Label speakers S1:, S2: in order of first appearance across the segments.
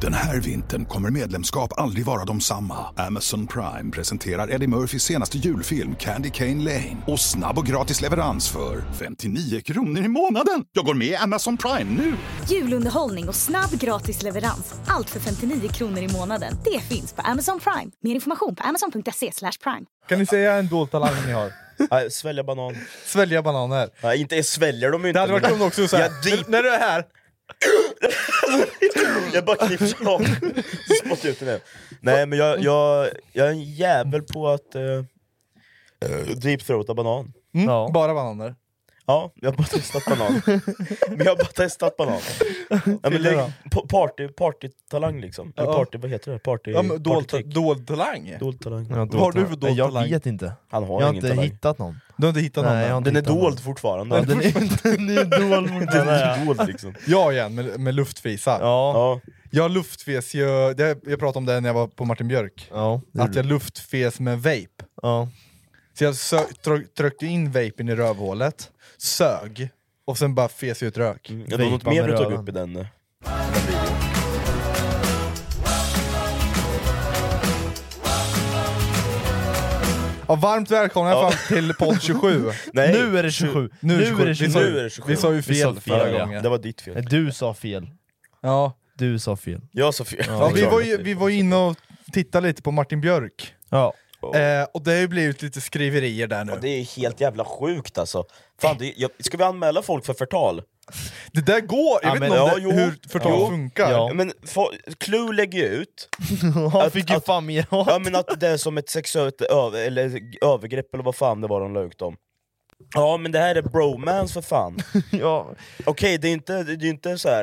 S1: Den här vintern kommer medlemskap aldrig vara de samma. Amazon Prime presenterar Eddie Murphys senaste julfilm Candy Cane Lane. Och snabb och gratis leverans för 59 kronor i månaden. Jag går med i Amazon Prime nu!
S2: Julunderhållning och snabb gratis leverans. Allt för 59 kronor i månaden. Det finns på Amazon Prime. Mer information på amazon.se slash prime.
S3: Kan ni säga en dold talang ni har?
S4: Nej, svälja banan.
S3: Svälja bananer.
S4: Nej, inte jag sväljer de ju
S3: Det
S4: inte.
S3: hade varit
S4: men-
S3: kul också såhär,
S4: Jag drip-
S3: när, när du är här,
S4: jag bara knipsar av den. Spottar ut den igen. Nej men jag, jag, jag är en jävel på att uh, deepthroata banan.
S3: mm,
S5: Ja.
S3: bara bananer.
S4: Ja, jag har bara testat banan. men jag har bara testat banan. Ja, men det, pa- party, partytalang liksom. Eller
S3: Ja.
S4: party, vad heter det? Party,
S3: Ja, men dold,
S4: partytrick.
S3: dold talang?
S4: Dold talang.
S5: Ja,
S3: Vad har du för
S5: talang?
S3: dold
S5: jag
S3: talang?
S5: vet inte.
S4: Han har,
S5: jag har
S4: ingen
S5: inte
S4: talang.
S5: hittat någon.
S3: Du har inte hittat någon?
S5: Nej, jag har
S3: än?
S5: inte
S4: Den är
S5: hittat någon.
S4: dold fortfarande.
S5: Ja, den, är, den är dold
S4: Den
S5: fortfarande.
S4: är dold liksom.
S3: Jag igen, med, med luftfisar.
S5: Ja,
S4: Ja.
S3: Jag luftfes ju, det, jag pratade om det när jag var på Martin Björk,
S5: ja, det
S3: att
S5: gjorde
S3: jag
S5: du.
S3: luftfes med vape.
S5: ja.
S3: Så jag sö- tro- tryckte in vapen i rövhålet, sög, och sen bara fes ut rök.
S5: Mm.
S4: Ja, det var något
S5: Vejpa
S4: mer
S5: med
S4: du tog
S5: röven.
S4: upp i den. eh.
S3: Ja, varmt välkomna
S4: Ja.
S3: fan till podd 27.
S4: Nej,
S5: Nu är det 27!
S3: Nu är det 27. Vi sa, ju,
S4: Nu är
S5: är det 27!
S4: det 27.
S3: vi sa ju fel,
S5: Vi sa fel,
S3: förra
S5: ja.
S3: gången.
S4: det var ditt fel.
S5: Nej, Du sa fel.
S3: Ja.
S5: Du sa fel.
S4: Jag sa fel.
S3: Ja, vi, var ju, vi var ju inne och tittade lite på Martin Björk,
S5: Ja.
S3: eh, och det har ju blivit lite skriverier där nu.
S4: Ja, Det är helt jävla sjukt alltså. Fan, det, jag, ska vi anmäla folk för förtal?
S3: Det där går, jag
S4: Ja,
S3: vet
S4: men
S3: inte om
S4: ja,
S3: det,
S4: jo.
S3: hur förtal
S4: Ja.
S3: funkar.
S5: Ja.
S4: Men fo- Clue lägger ju ut
S5: Han
S4: Att-
S5: fick ju
S4: att-
S5: fan mer hat!
S4: ja, men att det är som ett sexuellt ö- eller, övergrepp eller vad fan det var de la ut om. Ja men det här är bromance för fan.
S5: Ja.
S4: Okej, det är inte, det är inte så här.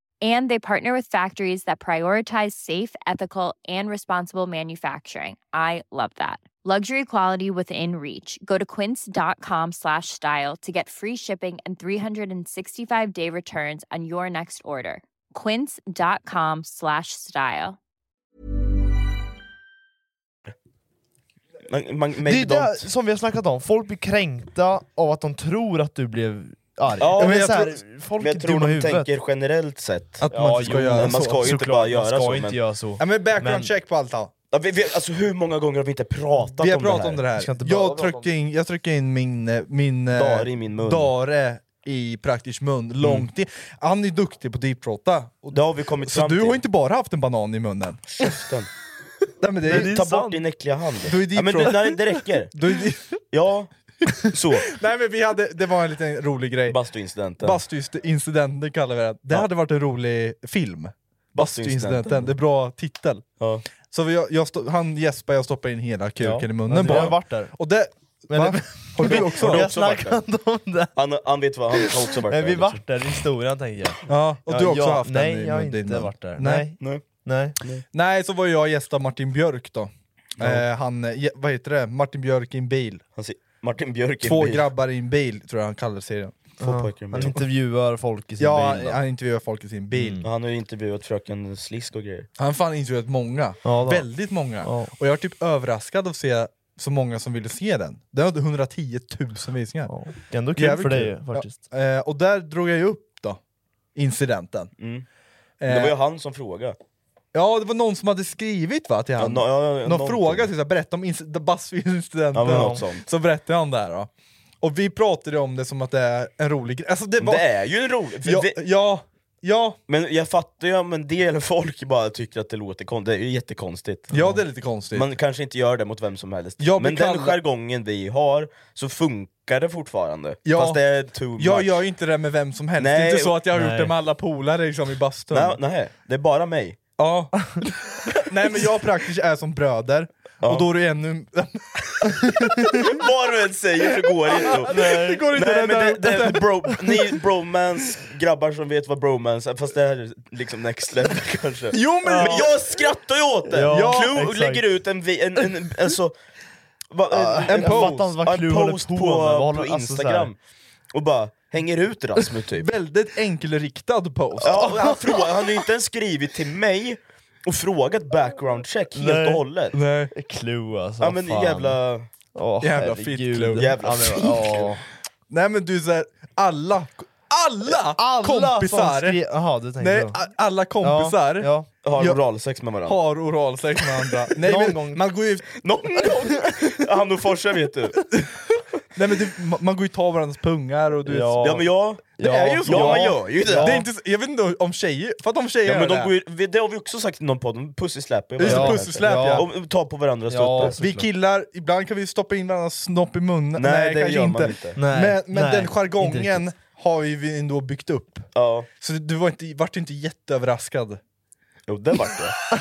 S6: And they partner with factories that prioritize safe, ethical, and responsible manufacturing. I love that. Luxury quality within reach. Go to quince.com slash style to get free shipping and 365 day returns on your next order. Quince.com slash style.
S4: Man, man, maybe
S5: Det är det
S4: don't.
S5: som vi har snackat om, folk blir kränkta av att de tror att du blev arg.
S4: Ja,
S5: men
S4: men jag
S5: så här, folk
S4: Men jag
S5: är
S4: tror
S5: dumma i
S4: de
S5: huvudet.
S4: tänker generellt sett.
S3: Att man ska
S5: jo,
S3: göra
S5: men
S3: så.
S4: man ska ju inte
S5: Såklart,
S4: bara göra
S5: man ska
S4: så,
S5: inte
S4: men-
S5: göra så.
S3: Ja, men background
S5: Men-
S3: check på allt då.
S4: Ja, vi, vi, alltså hur många gånger har vi inte pratat
S3: Vi har
S4: om,
S3: pratat
S4: det här?
S3: om det här.
S5: ska inte bara
S3: Jag
S5: prata om
S3: tryckte in, jag tryckte in min, eh, min eh,
S4: Dare i min mun. Mm.
S3: dare i praktisk mun, långt in. Han är duktig på deepthroata. Och-
S4: Det har vi kommit
S3: Så
S4: fram
S3: du
S4: till.
S3: har inte bara haft en banan i munnen?
S4: Käften.
S3: Nej, men det är,
S4: Ta
S3: sant.
S4: bort din äckliga hand.
S3: Du är dit
S4: ja, men
S3: från-
S4: det, nej, det räcker.
S3: Du är-
S4: Ja, så.
S3: Nej men vi hade, det var en liten rolig grej.
S4: Bastuincidenten.
S3: Bastuincidenten kallar vi det. Det
S4: Ja.
S3: hade varit en rolig film. Bastuincidenten, det är bra titel.
S4: Ja.
S3: Så vi- jag, jag, sto- han gäspar, jag stoppar in hela kuken i munnen
S5: Jag har
S3: bara.
S5: varit där.
S3: Och det... Va? Har du också?
S4: har
S5: Vi
S4: du
S5: har
S4: också varit där?
S5: snackat om det.
S4: Han, han vet vad, han har också varit
S5: Nej,
S4: där.
S5: vi vart där i historien tänker jag.
S3: Ja, och du har
S5: Ja,
S3: också
S5: jag-
S3: haft
S5: nej,
S3: den i
S5: jag har
S3: mun- din
S5: inte
S3: mun.
S5: varit där.
S3: Nej.
S5: Nej.
S4: Nej.
S5: Nej.
S3: Nej, så var jag gäst av Martin Björk då. Eh, han, eh, ge- vad heter det? Martin Björk i en bil.
S4: Han ser, Martin Björk i en
S3: Två
S4: bil.
S3: grabbar i en bil, tror jag han kallar serien.
S4: Två pojkar i en
S5: Han
S4: bil.
S5: intervjuar folk i sin
S3: Ja,
S5: bil. då.
S3: han intervjuar folk i sin bil.
S4: Men Han har ju intervjuat fröken Slisk och grejer.
S3: Han har fan intervjuat många,
S5: Ja, då.
S3: väldigt många.
S5: Ja.
S3: Och jag är typ överraskad av att se så många som ville se den. Den hade 110 000 visningar.
S5: Det är ändå kul
S3: Jävligt
S5: för dig
S3: kul.
S5: ju, faktiskt.
S3: Ja, eh, och där drog jag ju upp då, incidenten.
S4: Mm. Det var ju
S3: Eh,
S4: han som frågade.
S3: Ja, det var någon som hade skrivit va, till han.
S4: Ja, no- ja, ja,
S3: någon
S4: någonting.
S3: fråga, till, så här, berätta om inc- Buzzfeed-incidenten.
S4: Ja, men något sånt.
S3: så berättade han det här då. Och vi pratade om det som att det är en rolig grej. Alltså, det, var...
S4: Det är ju en rolig... för
S3: Ja,
S4: det-
S3: ja, ja,
S4: Men jag fattar ju om en del folk bara tycker att det låter konstigt, det är ju jättekonstigt.
S3: ja, det är lite konstigt.
S4: Man kanske inte gör det mot vem som helst.
S3: Jag blir
S4: men den
S3: kallad-
S4: jargongen vi har, så funkar det fortfarande.
S3: Ja.
S4: Fast det är too much.
S3: Jag gör ju inte det med vem som helst, det är
S4: Nej,
S3: inte så att jag har gjort
S5: nej.
S3: det med alla polare liksom, i bastun.
S4: Nej, nej, det är bara mig.
S3: Ja. Nej men jag och praktiskt är som bröder, och då är du ännu...
S4: Vad du än säger så går det inte. Nej,
S3: det går inte.
S4: Nej,
S3: Det
S4: men
S3: där-
S4: det, det är bro, ni bromance grabbar som vet vad bromance är, fast det här är liksom next level kanske.
S3: Jo, men-
S4: Men jag skrattar ju åt det!
S5: Ja,
S4: Clue
S5: exakt.
S4: lägger ut en, vi- en, en, en alltså, va,
S5: jag fattar inte vad
S4: en
S5: Clue håller
S4: post
S5: på
S4: på,
S5: med, vad
S4: på,
S5: håller- alltså så här.
S4: Instagram och bara hänger ut Rasmus typ.
S3: Väldigt enkelriktad post.
S4: Ja, och han, frågar, han har ju inte ens skrivit till mig och frågat background check helt och hållet.
S3: Nej.
S5: Clue alltså,
S4: Ja men
S5: fan.
S4: jävla...
S5: Åh,
S3: Jävla
S5: herregud.
S3: fitt-Clue.
S4: Jävla
S5: Ja, men-
S4: fitt-Clue.
S5: ja.
S3: Nej men du såhär, alla, alla,
S5: Alla
S3: kompisar,
S5: som skrev- Jaha, du tänkte
S3: nej
S5: så.
S3: a- alla kompisar
S5: Ja, ja.
S4: Har
S3: Ja.
S4: oralsex med varandra.
S3: har oralsex med andra. Nej,
S5: Någon
S3: men,
S5: gång.
S3: Man går ju,
S4: Någon gång! Han och Forsa vet du.
S3: nej men du, ma- man går ju ta varandras pungar och du vet,
S5: Ja.
S4: Ja men jag... Det
S5: Ja.
S4: är ju så!
S5: Ja,
S4: Ja, man gör ju det!
S3: Det är inte, så- jag vet inte om tjejer, för att om tjejer
S4: Ja,
S3: gör
S4: men de
S3: det.
S4: går ju, vi- det har vi också sagt i någon podd, de pussysläpar ju
S3: Just det,
S4: varandra.
S3: pusselsläp
S5: Ja.
S3: ja.
S4: Och och tar på varandras
S5: Ja,
S4: tuttar.
S5: så-
S3: Vi killar, ibland kan vi stoppa in varandras snopp i munnen,
S4: Nej, det
S3: kanske
S4: gör
S3: inte.
S4: man inte.
S5: Nej,
S3: Men, men
S5: nej,
S3: den
S5: inte
S3: jargongen
S5: riktigt.
S3: har ju vi ändå byggt upp.
S4: Ja,
S3: Så du var inte, vart inte jätteöverraskad.
S4: jo det vart det.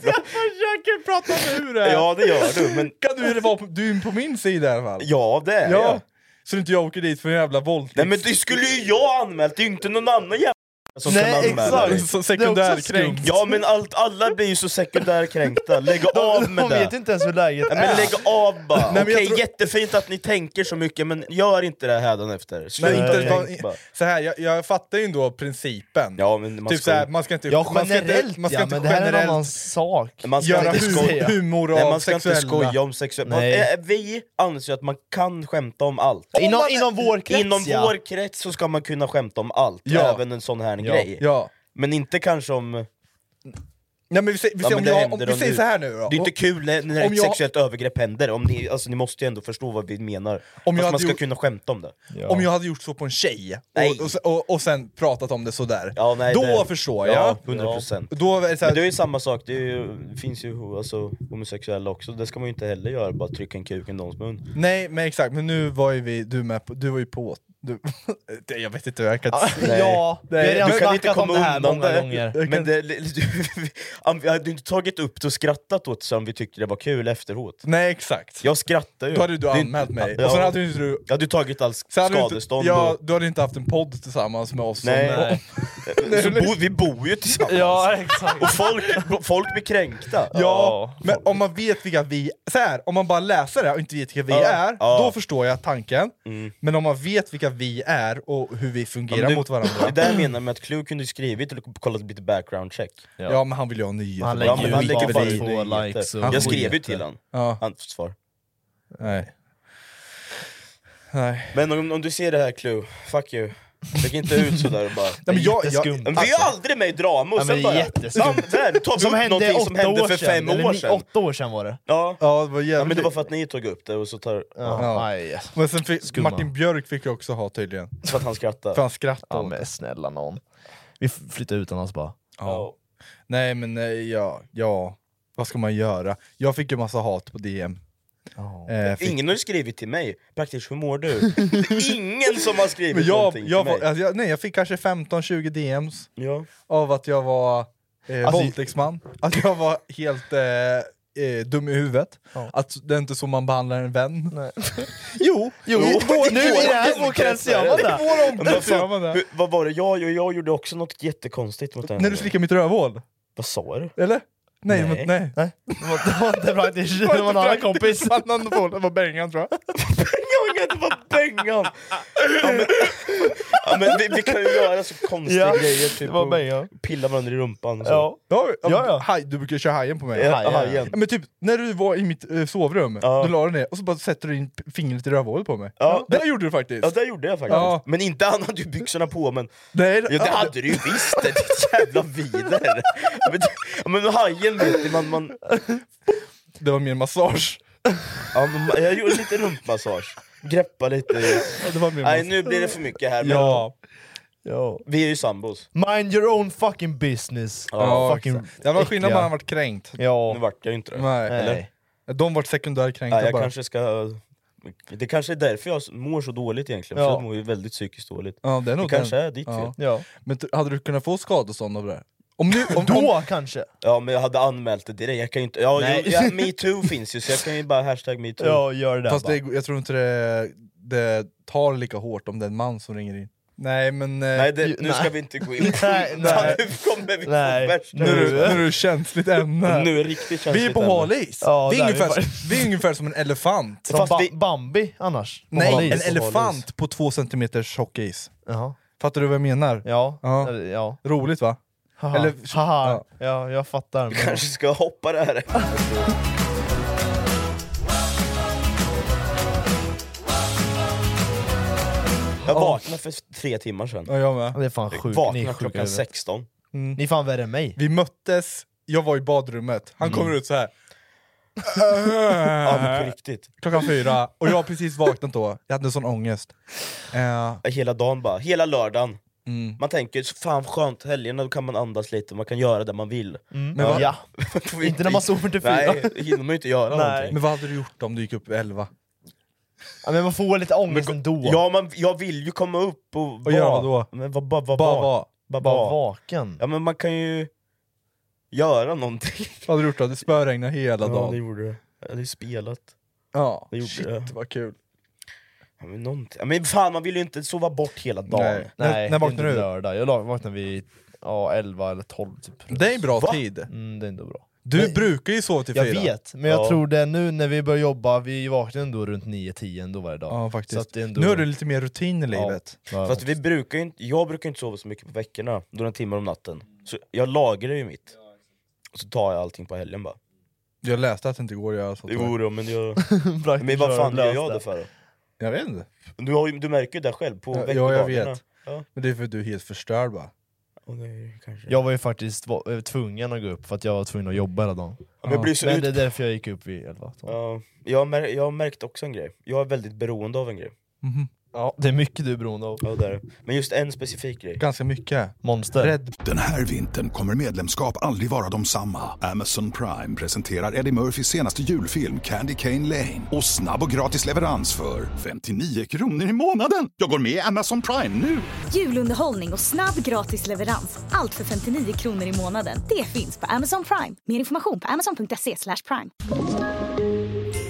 S3: Försöker prata mig ur det här.
S4: Ja det gör du, men...
S3: Kan du, vara på, du är på min sida i alla fall.
S4: Ja det är
S3: Ja.
S4: jag.
S3: Så inte jag åker dit för en jävla
S4: Nej
S3: våldtäkt.
S4: men det skulle ju jag ha anmält, det är ju inte någon annan jävla som kan
S5: Nej,
S4: anmäla
S5: exakt.
S4: dig.
S3: Så
S5: skumt.
S3: sekundärkränkt.
S4: Ja men allt, alla blir ju så sekundärkränkta, lägg av
S5: De
S4: med det!
S5: vet inte ens hur läget
S4: Nej, men
S5: är.
S4: lägg av bara!
S3: Nej, men
S4: Okej,
S3: jag tror-
S4: jättefint att ni tänker så mycket men gör inte det hädanefter.
S3: Nej,
S4: Sluta
S3: inte,
S4: tänk bara.
S3: bara, så här, jag, jag fattar ju ändå principen.
S4: Ja men man
S3: typ
S4: ska,
S3: så här, man ska inte...
S5: Ja
S3: man ska inte,
S5: generellt
S3: man ska
S5: ja,
S3: inte
S5: men det här är en
S3: generellt
S5: annan sak.
S4: man ska
S3: göra
S4: inte
S3: humor,
S4: skoja.
S5: säga.
S3: humor av
S4: Nej, man ska
S3: sexuella.
S4: inte skoja om sexuella...
S5: Nej.
S4: Eh, Vi anser att man kan skämta om allt.
S5: Inom, inom vår krets
S4: Inom
S5: ja.
S4: vår krets så ska man kunna skämta om allt,
S3: Ja.
S4: även en sån här
S5: Ja.
S4: grej.
S3: Ja.
S4: Men inte kanske om... Det
S3: Nej, men vi säger, vi
S4: Ja,
S3: säger,
S4: men
S3: om,
S4: det
S3: jag, om,
S4: händer
S3: vi
S4: om
S3: säger
S4: du-
S3: så här nu då.
S4: är inte kul när när
S3: Om
S4: ett
S3: jag-
S4: sexuellt övergrepp händer, om ni, alltså, ni måste ju ändå förstå vad vi menar.
S3: Om
S4: Om
S3: jag hade
S4: man ska
S3: gjort-
S4: kunna skämta om det.
S5: Ja.
S3: Om jag hade gjort så på en tjej
S4: Nej.
S3: och, och, och, och sen pratat om det sådär,
S4: Ja, nej,
S3: då
S4: det-
S3: förstår jag.
S4: Ja, 100%.
S3: Då är det så
S4: Men det
S3: här,
S4: är ju samma sak, det är ju, det finns ju alltså, homosexuella också, det ska man ju inte heller göra, bara trycka en kuk i någons mun.
S3: nej men exakt, men nu var ju vi, du med på, du var ju på, du, det- jag vet inte hur jag kan
S5: Nej. Ja, vi har
S3: Nej,
S5: redan
S3: du kan
S5: snackat om det här många gånger.
S4: Men det, du, vi hade ju inte tagit upp det och skrattat åt det som vi tyckte det var kul efteråt.
S3: Nej exakt,
S4: Jag skrattar ju.
S3: då hade du
S4: Det är
S3: anmält
S4: inte-
S3: mig,
S4: Ja.
S3: och sen hade inte du
S4: Jag hade ju tagit allt
S3: sen hade du inte,
S4: skadestånd
S3: ja,
S4: och...
S3: du hade inte haft en podd tillsammans med oss
S4: Nej.
S3: som,
S4: Nej. Så bo, vi bor ju tillsammans!
S5: Ja, exakt.
S4: Och folk, folk blir kränkta!
S3: Ja,
S5: Ja.
S3: men om man vet vilka vi så här, om man bara läser det här och inte vet vilka vi
S4: Ja,
S3: är,
S4: ja. Mm.
S3: då förstår jag tanken. Men om man vet vilka vi är och hur vi fungerar
S4: Men du-
S3: mot
S4: Det är
S3: varandra.
S4: det jag menar med att Clue kunde skrivit eller kollat lite background check.
S3: Ja men han vill ju ha nyheter.
S5: Han
S4: Ja,
S5: lägger
S4: men
S5: ju
S4: han
S5: ut
S4: lägger
S5: bara
S4: väl
S5: två
S4: nyheter.
S5: likes och
S4: Jag skrev ju
S5: skiter.
S4: till honom,
S3: Ja,
S4: han svar.
S3: nej. Nej.
S4: Men om, om du ser det här Clue, fuck you. Lägg inte ut sådär och bara... Alltså.
S3: Nej, men jag, jag,
S5: Jätteskumt.
S4: Men vi är ju aldrig med i drama och
S5: Ja, men
S4: sen
S5: det är
S4: bara...
S5: jätteskumt.
S4: Bam, Där tar vi
S5: Som
S4: upp
S5: hände
S4: någonting
S5: åtta
S4: som hände
S5: år
S4: för
S5: fem
S4: fem
S5: eller
S4: år
S5: ni-
S4: sedan.
S5: åtta år sedan var det.
S4: Ja.
S3: ja, det var
S4: ja,
S3: jävligt.
S4: men det var för att ni tog upp det och så tar...
S5: Ja. Aj,
S3: Men sen fick,
S5: Skumma.
S3: Martin Björk fick jag också ha tydligen,
S4: För att han skrattar.
S3: för han skrattade
S5: ja,
S3: åt det.
S5: men snälla någon. Vi f- flyttar ut honom bara.
S3: ja. Nej men nej, ja, ja, vad ska man göra? Jag fick ju massa hat på DM. Eh, fick-
S4: Ingen har ju skrivit till mig, praktiskt hur mår du? Det är ingen som har skrivit
S3: men jag,
S4: någonting
S3: jag,
S4: till
S3: var,
S4: mig.
S3: alltså, jag, nej, jag fick kanske 15-20 DMs
S4: Ja.
S3: av att jag var eh,
S5: Alltså-
S3: våldtäktsman, att jag var helt eh, eh, dum i huvudet, att det är inte så man behandlar en vän. jo,
S5: Jo,
S3: i vår-
S5: nu i det här vågkrets gör man
S3: I
S5: det!
S3: vår
S4: Men vad,
S3: omkrets gör man
S4: fan,
S3: det.
S4: hur, vad var det jag gjorde? Jag gjorde också något jättekonstigt mot den.
S3: När du slickar mitt rövhål,
S4: Vad sa du?
S3: eller? Nej,
S4: Nej.
S3: men, nej.
S5: Nej, det var- det var inte praktiskt, det var en annan kompis.
S3: Det var en annan folk, det var Bengan tror jag.
S4: Jag vet inte vad Bengan! Ja, men, Ja, men vi, vi kan ju göra så konstiga
S5: Ja,
S4: grejer, typ
S5: det var
S4: och
S5: mig, ja.
S4: pilla varandra i rumpan och så.
S5: Ja.
S3: Ja, ja,
S5: Ja, ja.
S3: Haj, du brukar köra hajen på mig.
S4: Ja, hajen.
S3: Men typ, när du var i mitt eh, sovrum,
S4: Ja.
S3: du la dig ner och så bara sätter du in p- fingret i rövhålet på mig.
S4: Ja.
S3: Det där gjorde du faktiskt.
S4: Ja det gjorde jag faktiskt,
S3: Ja.
S4: men inte han hade ju byxorna på men...
S3: Nej,
S4: Ja, det
S3: ja,
S4: hade du ju visst! Det ditt jävla vider! Men, ja, men hajen vet du, man, man,
S3: det var mer massage.
S4: ja, men man... Jag gjorde lite rumpmassage, greppa lite...
S3: Det var mer
S4: Nej
S3: massage.
S4: nu blir det för mycket här, men
S3: Ja.
S5: Ja.
S4: vi är ju sambos.
S5: Mind your own fucking business.
S3: Ja,
S5: fucking
S3: exakt. Det var skillnad om
S5: äckliga.
S3: han varit kränkt.
S5: Ja.
S4: Nu vart jag ju inte det.
S3: Nej.
S4: Eller?
S3: De vart sekundärt
S4: Ja,
S3: kränkta
S4: jag
S3: bara.
S4: kanske ska... Det kanske är därför jag mår så dåligt egentligen,
S5: Ja.
S4: för jag mår ju väldigt psykiskt dåligt.
S3: Ja, det är nog
S4: Det kanske
S3: den.
S4: är ditt
S3: Ja.
S4: fel.
S5: ja.
S3: Men t- hade du kunnat få skadestånd av det där? Om nu, om,
S5: Då
S3: om,
S5: kanske.
S4: Ja men jag hade anmält det direkt, jag kan ju inte... Ja,
S5: Nej.
S4: jo, ja, metoo finns ju så jag kan ju bara hashtag metoo.
S5: Ja, gör det där
S3: fast
S5: bara.
S3: det, jag tror inte det, det tar lika hårt om det är en man som ringer in. Nej men... eh,
S4: Nej, det, nu
S5: Nej.
S4: ska vi inte gå in på
S5: Nej, nej.
S4: Nu kommer vi
S5: Nej.
S4: på värsta...
S3: Nu är det-
S5: Nu-
S3: nu är det ett känsligt ämne.
S4: Nu är det riktigt känsligt
S3: Vi är på
S4: ämne.
S3: hal is!
S5: Ja,
S3: vi, är
S5: där
S3: ungefär,
S5: är vi
S3: vi är ungefär som en elefant.
S5: Som
S4: Fast
S5: ba-
S4: vi-
S5: Bambi annars. på
S3: Nej,
S5: Mallis.
S3: en elefant på två centimeter tjock is.
S5: Jaha.
S3: Fattar du vad jag menar?
S5: Ja.
S3: Ja.
S5: Eller, ja.
S3: Roligt va?
S5: Haha.
S3: Eller-
S5: Haha.
S3: Ja.
S5: Ja, jag fattar. men-
S4: Kanske ska jag hoppa det här. Jag vaknade för tre timmar sedan.
S3: Ja, jag med.
S5: Det är fan sjukt, ni är
S4: Vaknade
S5: sjuka i
S4: klockan
S5: huvudet.
S4: 16.
S5: Ni är fan värre än mig.
S3: Vi möttes, jag var i badrummet, han
S5: Mm.
S3: kommer ut så här.
S4: Ja
S5: Uh-huh.
S4: men på riktigt.
S3: Klockan fyra, och jag har precis vaknat då, jag hade en sån ångest. Eh,
S4: Hela dagen bara, hela lördagen.
S3: Mm.
S4: Man tänker, så fan skönt, helgerna då kan man andas lite, man kan göra det man vill.
S3: men, vad,
S5: Ja.
S4: På riktigt.
S5: Mm. Inte när man sover till fyra.
S4: Nej, hinner man ju inte göra
S5: Nej.
S4: någonting.
S3: men vad hade du gjort om du gick upp elva?
S5: Ja, men man får lite ångest ändå.
S4: Ja, man, jag vill ju komma upp och, och
S3: göra vad då?
S4: Men vad, vad, vad,
S3: Bara
S4: vad,
S3: var.
S4: vad,
S5: Bara
S4: vad.
S5: vaken.
S4: Ja men man kan ju göra någonting.
S3: Vad hade du gjort då? Det spöregnade hela
S4: Ja, det
S3: dagen.
S4: gjorde det. Jag hade ju spelat.
S3: Ja,
S4: det gjorde
S3: shit
S4: jag.
S3: vad kul.
S4: Ja, men, någonting. Ja, men fan, man vill ju inte sova bort hela dagen.
S3: Nej.
S5: Nej,
S3: När- när
S5: det är
S3: vaknar
S5: inte
S3: du?
S5: lördag. Jag la- vaknar vid ja, 11 eller 12 typ.
S3: Det är en bra
S4: Va?
S3: tid.
S5: Mm, det är inte bra.
S3: Du brukar ju sova till
S5: Jag
S3: fyra.
S5: vet, men jag
S4: Ja.
S5: tror det nu när vi börjar jobba, vi vaknar ändå runt 9-10 ändå varje dag.
S3: Ja, faktiskt.
S5: Så att det är ändå...
S3: Nu har du lite mer rutin i
S5: Ja.
S3: livet.
S5: Ja,
S4: Fast vi brukar ju inte, jag brukar ju inte sova så mycket på veckorna, några timmar om natten. Så jag lagrar ju mitt. Och så tar jag allting på helgen bara.
S3: Jag läste att det inte går att göra sånt.
S4: Jo då, men jag...
S5: praktiskt
S4: Men vad
S5: kör
S4: fan
S5: och
S4: gör
S5: lös
S4: jag det för då?
S3: Jag vet inte.
S4: Du, har, ju- du märker ju det själv på
S3: Ja,
S4: veckodagarna.
S3: ja, jag vet.
S4: Ja.
S3: Men det är för att du är helt förstörd bara.
S4: Och det är ju kanske...
S5: Jag var ju faktiskt va- eh, tvungen att gå upp för att jag var tvungen att jobba hela dagen.
S4: Ja, men jag blir så
S5: Men
S4: ut...
S5: det är därför jag gick upp vid 11. Ja.
S4: ja, jag, har mär... jag har märkt också en grej. Jag är väldigt beroende av en grej.
S5: ja, det är mycket du är beroende av.
S4: Ja, det är det. Men just en specifik grej.
S3: Ganska mycket.
S5: Monster.
S3: Red
S1: Den här vintern kommer medlemskap aldrig vara de samma. Amazon Prime presenterar Eddie Murphys senaste julfilm Candy Cane Lane. Och snabb och gratis leverans för 59 kronor i månaden. Jag går med i Amazon Prime nu!
S2: Julunderhållning och snabb gratis leverans. Allt för 59 kronor i månaden. Det finns på Amazon Prime. Mer information på amazon.se slash prime.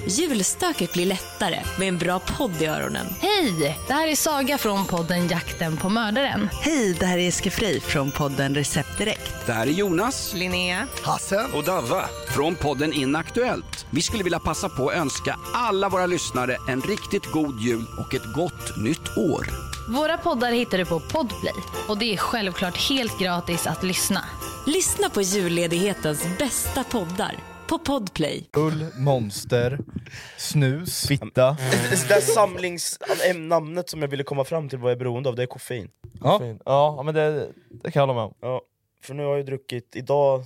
S7: Julstöket blir lättare med en bra podd i öronen. Hej! Det här är Saga från podden Jakten på mördaren. Hej, det här är Eske Frey från podden Recept Direkt.
S8: Det här är Jonas
S7: Linnea.
S8: och Davva från podden Inaktuellt. Vi skulle vilja passa på att önska alla våra lyssnare en riktigt god jul och ett gott nytt år.
S7: Våra poddar hittar du på Podplay och det är självklart helt gratis att lyssna. Lyssna på julledighetens bästa poddar på Podplay.
S3: Bull, Monster, Snus.
S5: Fitta.
S4: Det där samlingsnamnet som jag ville komma fram till vad jag är beroende av, det är koffein.
S3: Ja.
S5: Fin. Ja, men det, det kan jag hålla med om.
S4: Ja, för nu har jag ju druckit, idag,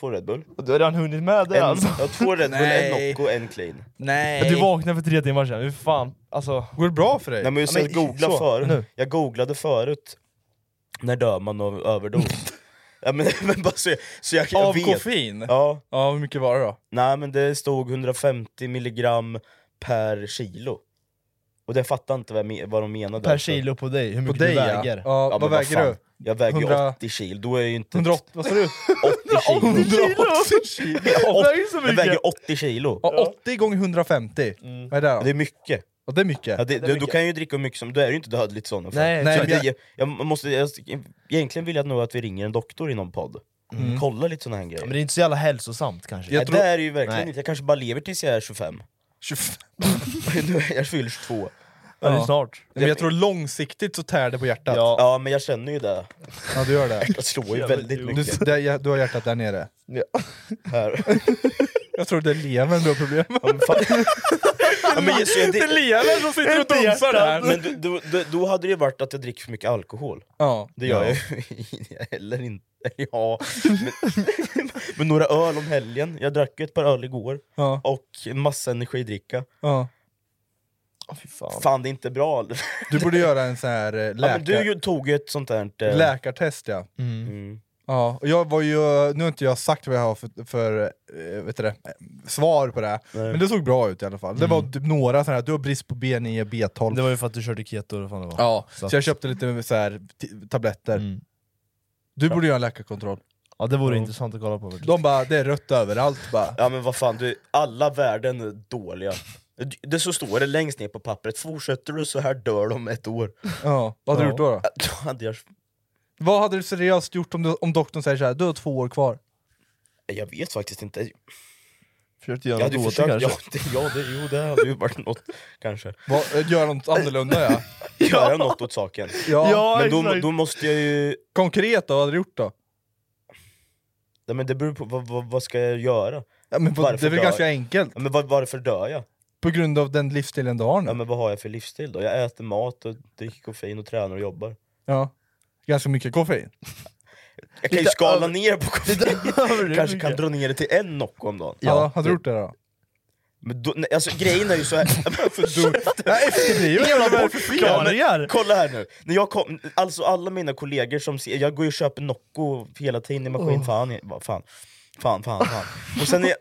S4: två Red Bull.
S5: Du har redan hunnit med det
S4: En,
S5: alltså.
S4: jag har två Red Bull,
S3: Nej.
S4: en Nocco, en clean.
S3: Nej.
S5: Du vaknade för tre timmar sedan, hur fan, alltså...
S3: Går det bra för dig?
S4: Nej men jag,
S5: Ja,
S4: ska
S5: men
S4: googla
S5: så,
S4: förut.
S5: nu.
S4: jag googlade förut, när dör man av överdos? ja, men, men bara så, jag- så jag, jag
S3: Av
S4: vet.
S3: koffein? Ja.
S4: Ja,
S3: hur mycket var det då?
S4: nej men det stod 150 milligram per kilo. Och det fattar inte vad, jag me- vad de menade.
S5: Per kilo på dig, hur
S3: På
S5: mycket
S3: dig
S5: du väger.
S3: ja. ja
S4: Ja,
S3: vad
S4: men
S3: väger
S4: fan.
S3: du?
S4: Jag väger ju
S3: 100
S4: 80 kilo, då är jag ju inte...
S3: 180, vad sa du?
S4: 80 kilo!
S3: 180
S4: kilo!
S5: väger så
S4: Jag
S5: mycket.
S4: väger 80 kilo!
S3: Ja, 80 gånger 150. Vad är det då?
S4: Mm. Det är mycket.
S3: Ja, det är mycket.
S4: Ja, det, du, då kan jag ju dricka hur mycket som, då är det ju inte dödligt sådana fall.
S5: Nej,
S4: Så
S3: nej,
S4: att
S3: men-
S4: jag, jag måste, jag, egentligen vill jag nog att vi ringer en doktor i någon podd, kolla lite sådana här grejer.
S5: Men det är inte så jävla hälsosamt kanske.
S3: Jag
S4: Nej,
S3: tror-
S4: det här är ju verkligen
S5: Nej.
S4: inte, jag kanske bara lever tills jag är 25.
S3: 25.
S4: nu är jag fyller 22.
S5: Ja, det är snart.
S3: Nej, men jag tror långsiktigt så tär det på hjärtat.
S4: Ja. ja, men jag känner ju det.
S3: Ja, du gör det.
S4: Hjärtat slår ju väldigt mycket.
S3: Du, där- du har hjärtat där nere.
S4: Ja. Här.
S3: Jag tror det är levern du har problem med.
S4: Ja, men just det-
S3: Det är levern som sitter och
S4: Inte
S3: dunsar
S4: hjärtat.
S3: där.
S4: Men du- du- du- då hade det ju varit att jag dricker för mycket alkohol.
S3: Ja.
S4: Det gör
S3: Ja.
S4: jag ju heller inte. Ja, men, men några öl om helgen. Jag drack ju ett par öl igår.
S3: Ja.
S4: Och en massa energidricka.
S3: Ja.
S4: fan. det är inte bra.
S3: Du borde göra en sån här eh,
S4: Ja,
S3: läkar...
S4: men du ju- tog ju ett sånt där... eh,
S3: läkartest ja.
S4: Mm.
S3: Ja, och jag var ju, nu har inte jag sagt vad jag har för, för eh, vet du det, svar på det, här.
S5: Nej.
S3: men det såg bra ut i alla fall. Det var typ några sådana här, du har brist på B9 B12.
S5: Det var ju för att du körde keto eller vad fan det var.
S3: Ja, så, Mm.
S5: Så
S3: jag köpte lite så här, t- tabletter. Du borde göra en läkarkontroll.
S5: Ja det vore intressant att kolla på. faktiskt.
S3: De bara, det är rött överallt bara.
S4: Ja men vad fan, du, alla värden är dåliga. Det så står det längst ner på pappret, fortsätter du så här dör de om ett år.
S3: Ja, vad hade du gjort då? då?
S4: Då hade jag...
S3: Vad hade du seriöst gjort om, du, om doktorn säger så här, du har två år kvar?
S4: Jag vet faktiskt inte.
S5: Försökte
S4: Jag
S5: göra
S4: hade
S5: något
S4: ju
S5: åt det
S4: försökt, ja,
S5: kanske.
S4: det, ja det, jo det hade ju varit något kanske.
S3: Vad- eh, Göra något annorlunda ja.
S4: Göra något åt saken.
S3: Ja, Ja,
S4: men då,
S3: exakt.
S4: då måste jag ju...
S3: Konkret då, vad hade du gjort då?
S4: Nej, men det beror på, vad, vad, vad ska jag göra?
S3: Ja, men vad- det är väl
S4: dör-
S3: ganska enkelt?
S4: Ja, men var, varför dör jag?
S3: På grund av den livsstilen du har nu?
S4: Ja, men vad har jag för livsstil då? Jag äter mat, och dricker koffein och tränar och jobbar.
S3: Ja. Ganska mycket koffein.
S4: Jag kan ju
S3: Lite
S4: skala
S3: över-
S4: ner på koffein, kanske kan dra ner det till en Nocco om dagen.
S3: Ja, hade du gjort det då?
S4: Men då, nej, alltså grejen är ju så här.
S3: Nej, efterblivet. Jävla Vad är det för
S4: Ja,
S3: förklaringar?
S4: men kolla här nu, när jag kom, alltså alla mina kollegor som ser, jag går ju och köper Nocco hela tiden i maskin,
S5: Oh.
S4: fan, jag- vad fan, fan, fan, fan. Och sen är jag,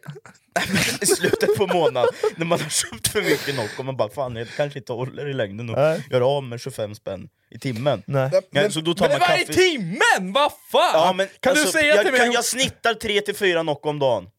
S4: i slutet på månaden, när man har köpt för mycket Nocco, man bara fan jag kanske inte håller i längden och
S5: Nej.
S4: gör av med 25 spänn i timmen.
S5: Nej.
S4: Ja, så då tar
S3: men
S4: man
S3: det var i
S4: kaffe-
S3: timmen! Vad fan!
S4: Ja, men,
S3: kan
S4: alltså,
S3: du säga
S4: jag,
S3: till mig...
S4: Kan, jag snittar 3-4 Nocco om dagen.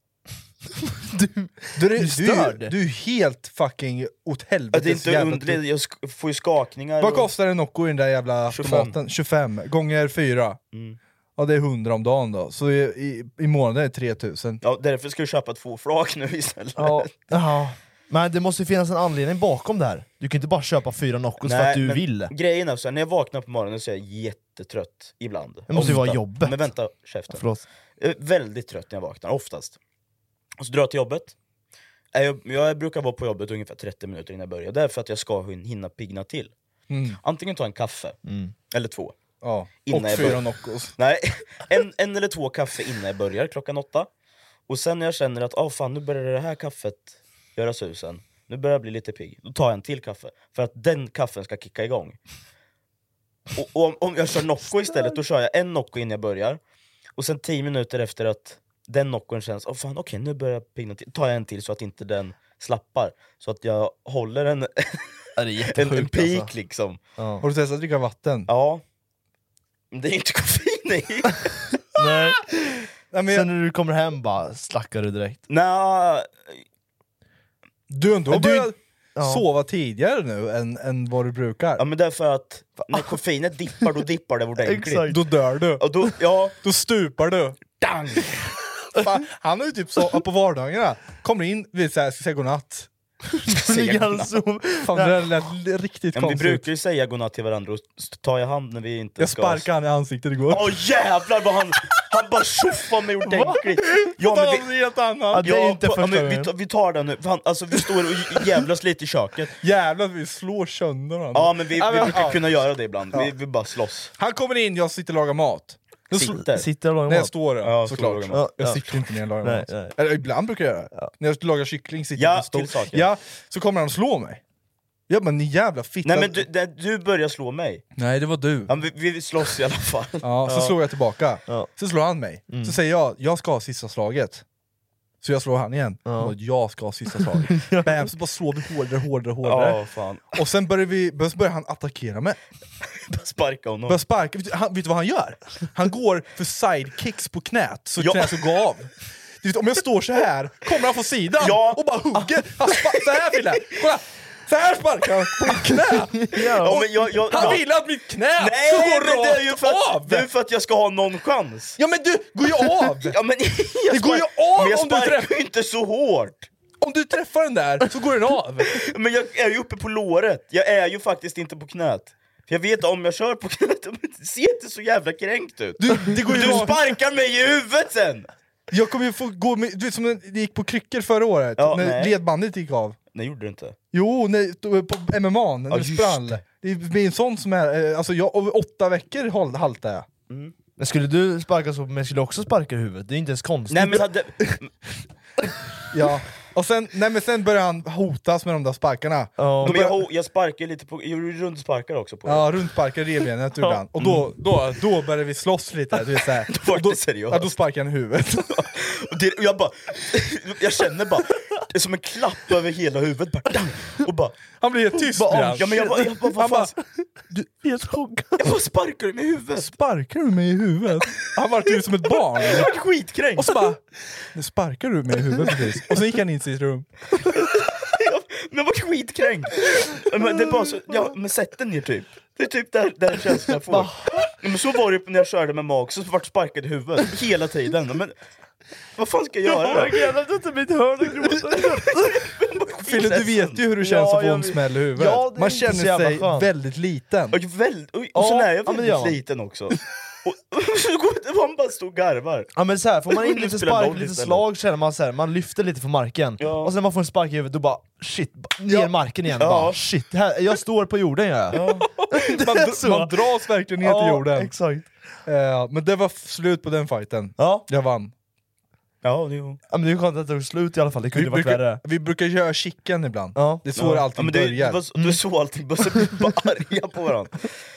S3: Du, du,
S4: störd.
S3: du, du är helt fucking åt
S4: Ja, Det är
S3: helvetes
S4: inte
S3: jävla typ.
S4: underligt,
S3: tryck.
S4: jag sk- får ju skakningar.
S3: Vad
S4: och-
S3: kostar en Nocco i den där jävla
S4: 25.
S3: automaten? 25 gånger 4.
S4: Mm.
S3: Ja det är 100 om dagen då, så i, i, i månaden är det 3000.
S4: Ja, därför ska jag köpa två flak nu istället.
S5: Ja. Ja. Men det måste ju finnas en anledning bakom det här. Du kan inte bara köpa fyra Noccos Alltså för att du
S4: men
S5: vill.
S4: Grejen är så här, när jag vaknar på morgonen så är jag jättetrött ibland.
S5: Det måste ju
S4: Ofta.
S5: vara jobbet.
S4: Men vänta, käften.
S5: Förlåt.
S4: Jag är väldigt trött när jag vaknar, oftast. Och så drar jag till jobbet. Äh, Jag, jag brukar vara på jobbet ungefär 30 minuter innan jag börjar, därför att jag ska hin- hinna pigna till.
S3: Mm.
S4: Antingen ta en kaffe,
S5: Mm.
S4: eller två.
S3: Ja.
S4: Innan
S3: och
S4: jag
S3: fyra
S4: börjar.
S3: Noccos.
S4: Nej, en, en eller två kaffe innan jag börjar klockan åtta. Och sen när jag känner att ah, fan, nu börjar det här kaffet göra susen, nu börjar jag bli lite pigg, då tar jag en till kaffe. För att den kaffen ska kicka igång. Och, och om, om jag kör Nocco istället, då kör jag en Nocco innan jag börjar. Och sen tio minuter efter att den Noccon känns, oh, fan, okej nu börjar jag pigna till, tar jag en till så att inte den slappar. Så att jag håller en, en, en
S5: jättesjukt,
S4: peak
S5: alltså.
S4: liksom.
S3: Har du testat att dricka vatten?
S4: Ja. Men det är ju inte koffein i!
S5: Nej.
S3: Nej, men jag-
S5: Sen när du kommer hem bara slackar du direkt.
S4: Nja,
S3: Du har ändå
S5: Men du-
S3: börjat
S5: Ja.
S3: sova tidigare nu än, än vad du brukar.
S4: Ja men därför att när koffeinet dippar, då dippar det ordentligt.
S5: Exakt.
S3: Då dör du.
S4: Och då, ja,
S3: Då stupar du.
S4: dang!
S3: Fan, han är ju typ så på vardagarna, kommer in, vi säger ska säga godnatt.
S5: Ligger han och sover.
S3: Fan det där lät riktigt
S4: Ja, men vi
S3: konstigt.
S4: brukar ju säga godnatt till varandra och s- ta i hand när vi inte
S3: Jag
S4: ska...
S3: sparkade han i ansiktet igår.
S4: Åh jävlar vad han, han bara tjoffade mig ordentligt! Ja men vi,
S3: helt annat.
S5: det är
S4: ja,
S5: inte
S4: på- ja,
S5: första
S4: men vi,
S5: gången.
S4: tar- vi tar den nu, För han, alltså vi står och jävlas lite i köket.
S3: Jävlar vi slår sönder honom.
S4: Ja men vi, vi
S3: men-
S4: brukar
S3: ja.
S4: kunna göra det ibland, vi, vi bara slåss.
S3: Han kommer in, jag sitter och lagar mat. Då slår-
S4: Sitter.
S5: Sitter och lagar
S3: Nej jag
S5: mat.
S3: står där
S4: Ja, står och
S3: såklart.
S4: lagar mat.
S5: Ja,
S3: Jag
S5: ja.
S3: sitter inte ner och lagar
S5: Nej,
S3: mat.
S5: nej.
S3: Eller ibland brukar jag göra det. När jag lagar kyckling sitter jag
S4: Ja,
S3: på en stol.
S4: till saken.
S3: Ja, så kommer han och slår mig. Ja men ni jävla fitta.
S4: Nej men du, det- du börjar slå mig,
S3: Nej, det var du.
S4: ja, men vi, vi slåss i alla fall.
S3: Ja, så slår jag tillbaka.
S5: Ja.
S3: Så slår han mig.
S4: Mm.
S3: Så säger jag, jag ska ha sista slaget. Så jag slår han igen. Han bara, jag ska ha sista slaget. Bam, så bara slår vi hårdare, hårdare, hårdare.
S4: Ja fan,
S3: Och sen börjar, vi, bör- börjar han attackera mig.
S4: sparka honom.
S3: Börjar sparka. Vet du, han, vet du vad han gör? Han går för sidekicks på knät, så
S4: Ja.
S3: knät så går av. Du vet, om jag står så här kommer han från sidan
S4: Ja.
S3: och bara hugger. Han spa- så här Fille! Kolla! Så här sparkar han på mitt knä!
S4: Ja, men jag, jag,
S3: Han
S4: jag,
S3: vill att mitt knä ska
S4: Nej,
S3: gå
S4: men det är ju
S3: rakt
S4: för att,
S3: av!
S4: det är ju för att jag ska ha någon chans!
S3: Ja men du, går ju av!
S4: Ja, men jag
S3: Det går ju
S4: spark-
S3: av
S4: men jag
S3: om du
S4: sparkar
S3: träffar-
S4: ju inte så hårt!
S3: Om du träffar den där så går den av!
S4: Men jag är ju uppe på låret, jag är ju faktiskt inte på knät. För jag vet om jag kör på knät, det ser inte så jävla kränkt ut.
S3: Du, ju rakt-
S4: sparkar mig i huvudet sen!
S3: Jag kommer ju få gå med, du vet som när det gick på kryckor förra året,
S4: Ja,
S3: när
S4: nej.
S3: ledbandet gick av.
S4: Nej gjorde du inte.
S3: Jo, när, på MMA, när
S4: Ja,
S3: du
S4: just
S3: sprang. Det. är med en sån som är, eh, alltså jag, om åtta veckor hal- haltar jag.
S5: Men skulle du sparka så på mig skulle jag också sparka i huvudet, det är inte ens konstigt.
S4: Nej men hade...
S3: Ja. Och sen, nej, men sen börjar han hotas med de där sparkarna.
S5: Ja.
S3: Då
S4: Men jag,
S3: börjar-
S4: ho- jag sparkar ju lite på... Jag gjorde rundsparkar också på
S3: Ja, rundsparkar revbenet gjorde han. Och då, då, då började vi slåss lite. Du vet, så här.
S4: Var
S3: Och då,
S4: det seriöst?
S3: ja, då sparkade han i huvudet.
S4: Och, det, och jag bara... Jag känner bara... Det är som en klapp över hela huvudet bara... dang! Och bara...
S3: Han blir helt tyst
S4: Bara,
S3: blir han.
S4: ja, men jag bara, jag bara, vad
S3: Han bara,
S4: fan,
S5: du, helt chockad.
S4: jag bara sparkar i mig i huvudet!
S3: Sparkar du mig i huvudet? Han vart ju som ett barn.
S4: Jag vart skitkränkt!
S3: Och så bara, nu sparkar du mig i huvudet precis. Och sen gick han in i sitt rum.
S4: Men jag vart skitkränkt! Men, det är bara så, ja, men sätt den ner typ. Det är typ där, där känslan jag får. Ja, men så var det ju när jag körde med mag, så vart sparkad i huvudet hela tiden. Men vad fan ska jag göra?
S5: Jag grävde inte mitt hörn och gråta.
S3: Fille, du vet ju hur det känns
S5: Ja,
S3: att få
S5: jag
S3: en
S5: vet.
S3: smäll i huvudet.
S5: Ja, det är
S3: Man
S5: inte så
S3: känner
S5: jävla
S3: sig
S5: skönt.
S3: väldigt liten.
S4: Och, väl, och, och
S5: Ja,
S4: sen är jag
S5: ja, men det
S4: väldigt
S5: gör man.
S4: liten också. Och, och så går det, man bara står och garvar.
S5: Ja men så här, får man in
S4: Det
S5: lite
S4: spelar
S5: spark,
S4: roll
S5: lite
S4: istället.
S5: slag känner man så här, man lyfter lite från marken,
S4: Ja.
S5: och sen man får en spark i huvudet, då bara shit, ba- ner
S3: Ja.
S5: marken igen.
S4: Ja.
S5: Bara, shit, här, jag står på jorden gör jag. Det
S3: Man,
S5: är
S3: dr- man dras verkligen ner till jorden.
S5: Exakt.
S3: Eh, men det var f- slut på den fighten.
S5: Ja.
S3: Jag vann.
S4: Ja, det, jo.
S5: ja, men det är skönt att det tog slut i alla fall, det kunde
S3: Vi
S5: varit värre.
S3: brukar, vi brukar göra chicken ibland.
S5: Ja.
S3: Det är så det
S4: ja,
S3: alltid
S4: men det, det,
S3: börjar.
S4: var, så- det var så allting började, så blev vi bara arga på varandra.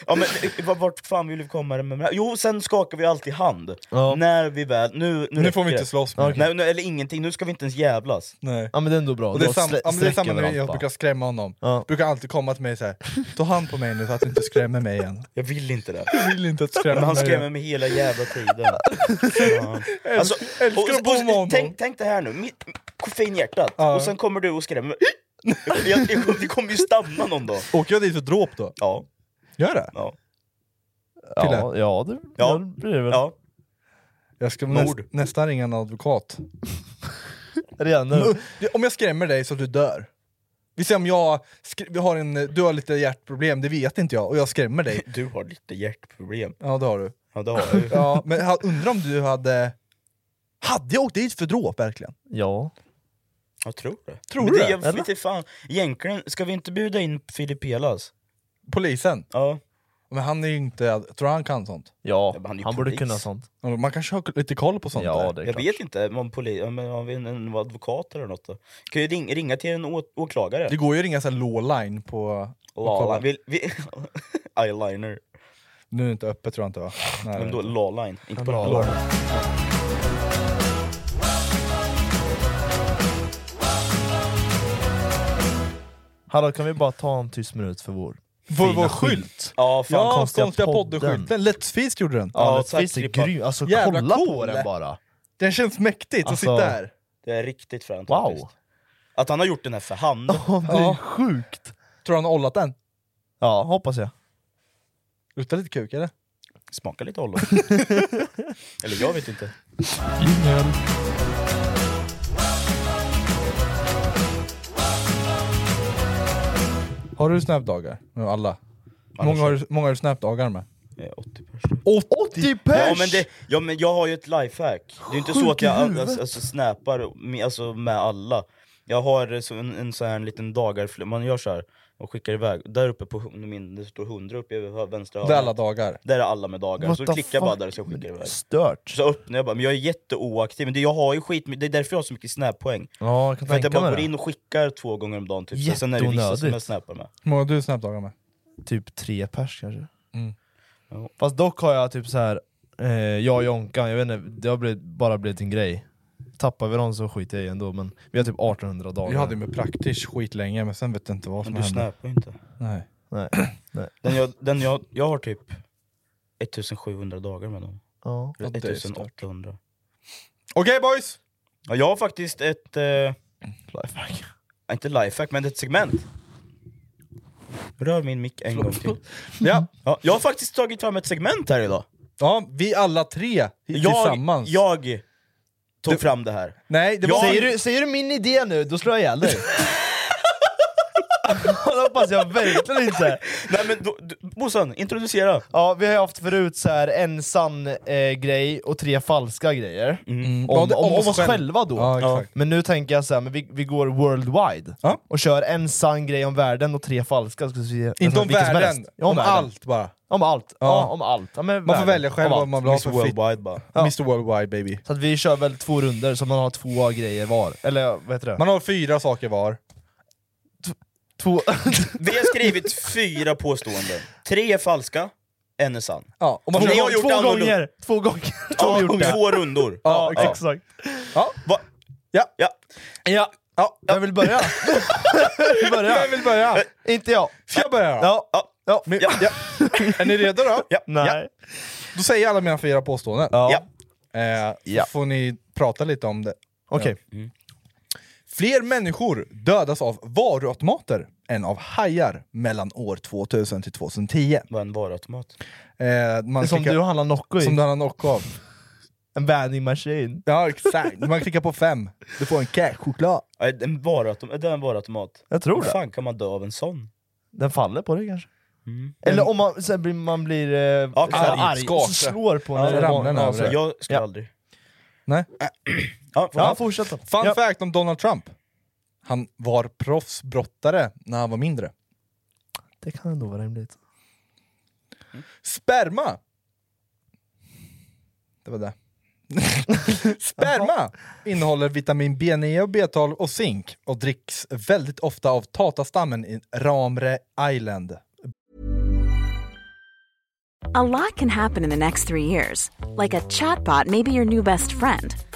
S4: Ja, men, eh, var- vart fan vill vi komma med det här? Jo, sen skakar vi alltid hand.
S5: Ja.
S4: När vi väl... Nu, nu,
S3: Nu får
S4: räcker
S3: vi inte
S4: det.
S3: slåss mer.
S4: Nej, nu, eller ingenting, nu ska vi inte ens jävlas.
S3: Nej.
S5: Ja men det är ändå bra.
S3: Och det, är
S5: Då
S3: sam-
S5: slä-
S3: ja, men det är
S5: sträcker
S3: samma när
S5: varandra
S3: jag
S5: bara.
S3: brukar skrämma honom.
S5: Ja.
S3: Brukar alltid komma till mig och säga ta hand på mig nu så att du inte skrämmer mig igen.
S4: Jag vill inte det.
S3: Jag vill inte att du skrämmer
S4: Men han
S3: mig
S4: skrämmer
S3: igen.
S4: mig hela jävla tiden. Ja. Alltså,
S3: älskar
S4: och-
S3: att bo med
S4: och-
S3: honom.
S4: tänk, tänk det här nu, mitt koffeinhjärtat,
S3: Ja.
S4: och sen kommer du och skrämmer mig. Jag, jag, jag, det kommer ju stanna någon dag.
S3: Åker jag dit för dråp då?
S4: Ja,
S3: Gör det?
S4: ja,
S5: Ja, ja, det,
S4: Ja.
S5: ja. det blir det väl.
S4: ja.
S3: Jag ska näst,
S4: Mord.
S3: nästan ringa en advokat.
S5: Redan nu.
S3: Det- Mm. Om jag skrämmer dig så att du dör. Vi säger om jag skr- vi har en, du har lite hjärtproblem, det vet inte jag, och jag skrämmer dig.
S4: Du har lite hjärtproblem.
S3: Ja det har du.
S4: Ja, det har jag ju.
S3: Ja, men jag undrar om du hade... Hade jag åkt dit för dråp verkligen?
S5: Ja.
S4: Jag tror det.
S3: Tror
S4: Men
S3: du
S4: det?
S3: det,
S4: Jag vet inte fan. Egentligen, ska vi inte bjuda in Filip Pelas?
S3: Polisen?
S4: Ja.
S3: Men han är ju inte... Tror han kan sånt?
S5: Ja,
S4: Ja, men han är ju
S5: han borde
S4: polis.
S5: kunna sånt.
S3: Man kanske har lite koll på sånt
S5: Ja,
S3: där?
S5: det är
S4: Jag
S5: klart.
S4: vet inte, om, poli- om, om vi är en, en advokat eller något då. Kan ju ring, ringa till en å- åklagare.
S3: Det går ju att ringa så här lawline på...
S4: Lala. Vill, vi, eyeliner.
S3: Nu är det inte öppet tror jag inte va? Nej,
S4: Men
S3: det
S4: då
S3: är inte.
S4: lawline, inte bara
S5: Lala.
S4: lawline.
S5: Hallå, kan vi bara ta en tyst minut för vår
S3: Vår,
S5: fina
S3: vår skylt!
S4: Ja, fan.
S3: Ja,
S5: konstiga
S3: konstiga,
S5: podden.
S3: podden-skylten. Let's Feast gjorde den.
S4: Ja,
S5: Ja,
S4: tack,
S5: Netflix är
S4: Filippa.
S5: grym, alltså
S3: Jävla
S5: kolla
S3: cool.
S5: på den bara!
S3: Den känns mäktigt
S5: Alltså,
S3: att sitta här.
S4: Det är riktigt fränt
S5: Wow!
S4: faktiskt. Att han har gjort den här för hand.
S5: det är sjukt!
S3: Tror han har ollat den?
S5: Ja, hoppas jag.
S3: Luktar lite kuk eller?
S4: Smaka lite ollon. eller jag vet inte.
S3: Har du snapdagar? Nu alla. Många har, du- många har du snapdagar med?
S4: Jag är 80 pers.
S5: 80 pers!
S4: Ja men, det, ja men jag har ju ett lifehack, det är inte så
S5: Sjuk
S4: att
S5: i
S4: jag all-
S5: huvudet.
S4: alltså, alltså, snappar med, alltså, med alla Jag har eh, så en, en sån här liten dagar, man gör så här och skickar iväg, där uppe på hu- min, det står 100 uppe i hö- vänstra
S3: Det är
S4: hörnet
S3: alla dagar.
S4: Där är alla med dagar,
S5: What
S4: så
S5: the
S4: klickar jag bara
S5: fuck?
S4: där så jag skickar iväg
S5: Stört!
S4: Så öppnar jag bara, men jag är jätteoaktiv, men det, jag har ju skit, det är därför jag har så mycket snap-poäng
S5: Ja, jag kan
S4: För att
S5: tänka
S4: jag bara
S5: mig
S4: går
S5: det.
S4: in och skickar två gånger om dagen typ, och sen är det vissa som
S5: Jätteonödigt.
S4: jag snappar med
S3: Hur många har du snapdagar med?
S5: Typ tre pers kanske.
S3: Mm.
S4: Ja.
S5: Fast dock har jag typ så här. Eh, jag och Jonkan, jag vet inte, det har blivit, bara blivit en grej. Tappar vi dem så skiter jag i ändå, men vi har typ 1800 dagar.
S3: Jag hade med praktiskt skitlänge men sen vet jag inte vad
S4: Men
S3: som hände.
S4: du snappar ju inte
S3: Nej.
S5: Nej. Nej.
S4: den jag, den jag, jag har typ 1700 dagar med dem
S5: Ja.
S3: Ja, det är stört.
S4: 1800
S3: Okej boys!
S4: Ja, jag har faktiskt ett, eh,
S5: Lifehack.
S4: inte lifehack, men ett segment. Rör min mick en gång till.
S3: Ja.
S4: Ja, jag har faktiskt tagit fram ett segment här idag.
S3: ja, vi alla tre
S4: Jag,
S3: tillsammans.
S4: jag tog fram det här.
S3: Nej, det var-
S5: säger, du, säger du min idé nu, då slår jag ihjäl dig. det hoppas jag verkligen inte.
S4: Nej men då, du, Bossan, introducera.
S5: Ja, vi har ju haft förut så här en sann eh, grej och tre falska grejer. Om,
S3: Ja, det-
S5: om,
S3: Mm. om
S5: om
S3: oss
S5: oss
S3: själv.
S5: själva då.
S3: Ja, exakt.
S5: Men nu tänker jag så här, men vi, vi går worldwide
S3: Ja.
S5: och kör en sann grej om världen och tre falska. Ska vi se,
S3: Inte
S5: alltså,
S3: om
S5: vilken som
S3: världen,
S5: helst. Ja,
S3: om
S5: världen.
S3: allt bara.
S5: Om allt. Ja.
S3: Ja.
S5: om allt. Ja, men
S3: Man får
S5: världen.
S3: välja själv
S5: Om
S3: vad
S5: allt.
S3: man vill ha
S4: Mr
S3: för fit.
S4: Worldwide bara.
S3: Mr Worldwide baby.
S5: Så att vi kör väl två runder så man har två grejer var. Eller vad heter det?
S3: Man har fyra saker var.
S5: Två...
S4: Vi har skrivit fyra påståenden. Tre är falska, en är sann.
S3: Ja, och man
S4: Ni
S3: kör-
S4: har gjort
S5: två
S4: annorlunda.
S5: gånger! Två gånger! Två
S4: Ja,
S5: gjort det.
S4: två rundor.
S5: Ja,
S3: Ja.
S5: exakt.
S4: Va?
S3: Ja.
S4: ja.
S5: Ja. Ja. Vem vill börja? börja.
S3: Vem vill börja?
S5: Inte jag.
S3: Ska jag börja då?
S5: Ja.
S4: Ja.
S5: Ja.
S3: Men- ja. Är ni redo då?
S5: Nej.
S3: Då säger jag alla mina fyra påståenden.
S4: Ja.
S3: Eh, så
S5: Ja.
S3: får ni prata lite om det.
S5: Okej.
S3: Fler människor dödas av varuautomater än av hajar mellan år 2000 till 2010.
S4: Vad en varuautomat.
S3: Eh,
S5: Det
S3: man
S5: är Som
S3: klickar-
S5: du handlar Nocco i.
S3: som du har en knock av.
S5: En vending machine.
S3: Ja exakt, man klickar på fem, du får en cashchoklad.
S4: Ja, En varuautomat. Det är en varuautomat.
S5: Jag tror
S4: Hur
S5: det.
S4: fan kan man dö av en sån?
S5: Den faller på dig kanske. Eller om man, sen blir, man blir eh,
S4: Ja,
S5: så här
S4: arg,
S5: arg,
S3: skakig.
S5: så slår på
S3: Ja,
S5: en.
S3: ramlar den över
S5: så-
S3: dig.
S4: Alltså, Jag ska
S5: Ja.
S4: aldrig...
S3: Nej.
S4: Ja,
S5: Ja,
S4: ja.
S5: fortsätt då.
S3: Fun
S5: ja.
S3: fact om Donald Trump. Han var proffsbrottare när han var mindre.
S5: Det kan ändå vara rimligt.
S3: Sperma! Det var det. Sperma innehåller vitamin B9 och B12 och zink och dricks väldigt ofta av tatastammen i Ramre Island.
S9: A lot can happen in the next three years. Like a chatbot may be your new best friend.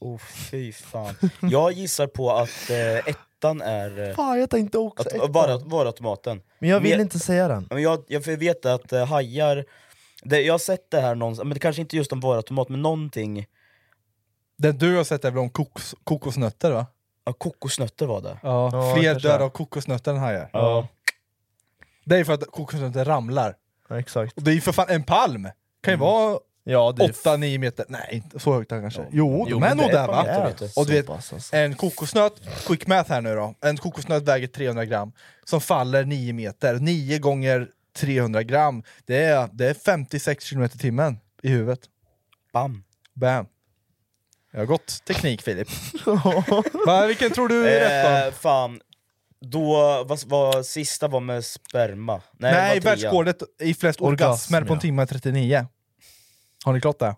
S4: Oh, fy fan. Jag gissar på att eh, ettan är... Eh,
S5: Fan, jag tänkte också
S4: att,
S5: ettan.
S4: vara, varuautomaten.
S5: Men jag vill
S4: Men-
S5: inte säga den.
S4: Ja, Men jag, jag får veta att eh, hajar, det, jag har sett det här någonstans, men det kanske inte just om varuautomat, men någonting,
S3: Det du har sett är väl om kokos, kokosnötter va?
S4: ja, kokosnötter var det.
S3: Ja,
S5: Ja,
S3: Fler
S5: kanske.
S3: dör av kokosnötter än hajar.
S5: Ja.
S3: Det är för att kokosnötter ramlar.
S5: Ja, exakt.
S3: Och det är ju för fan en palm!
S5: Mm.
S3: Kan ju vara
S5: Ja, det är
S3: 8-9 meter, nej inte så högt där kanske. Jo,
S5: Jo,
S3: de är
S5: men
S3: nog
S5: det
S3: där
S5: är fan
S3: va?
S5: det är
S3: Och du
S5: så
S3: vet,
S5: pass, alltså.
S3: en kokosnöt, quick math här nu då. En kokosnöt väger 300 gram, som faller 9 meter. 9 gånger 300 gram, det är, det är 56 km timmen i huvudet.
S4: Bam!
S3: Bam! Jag har gått teknik Filip. va, vilken tror du är rätt då?
S4: Eh, fan, då, vad, vad, sista var med sperma.
S3: Nej,
S4: Nej, det var trean.
S3: världsrekordet i flest orgasmer,
S5: Orgasm,
S3: på en
S5: ja.
S3: timme är 39. Har ni klart det?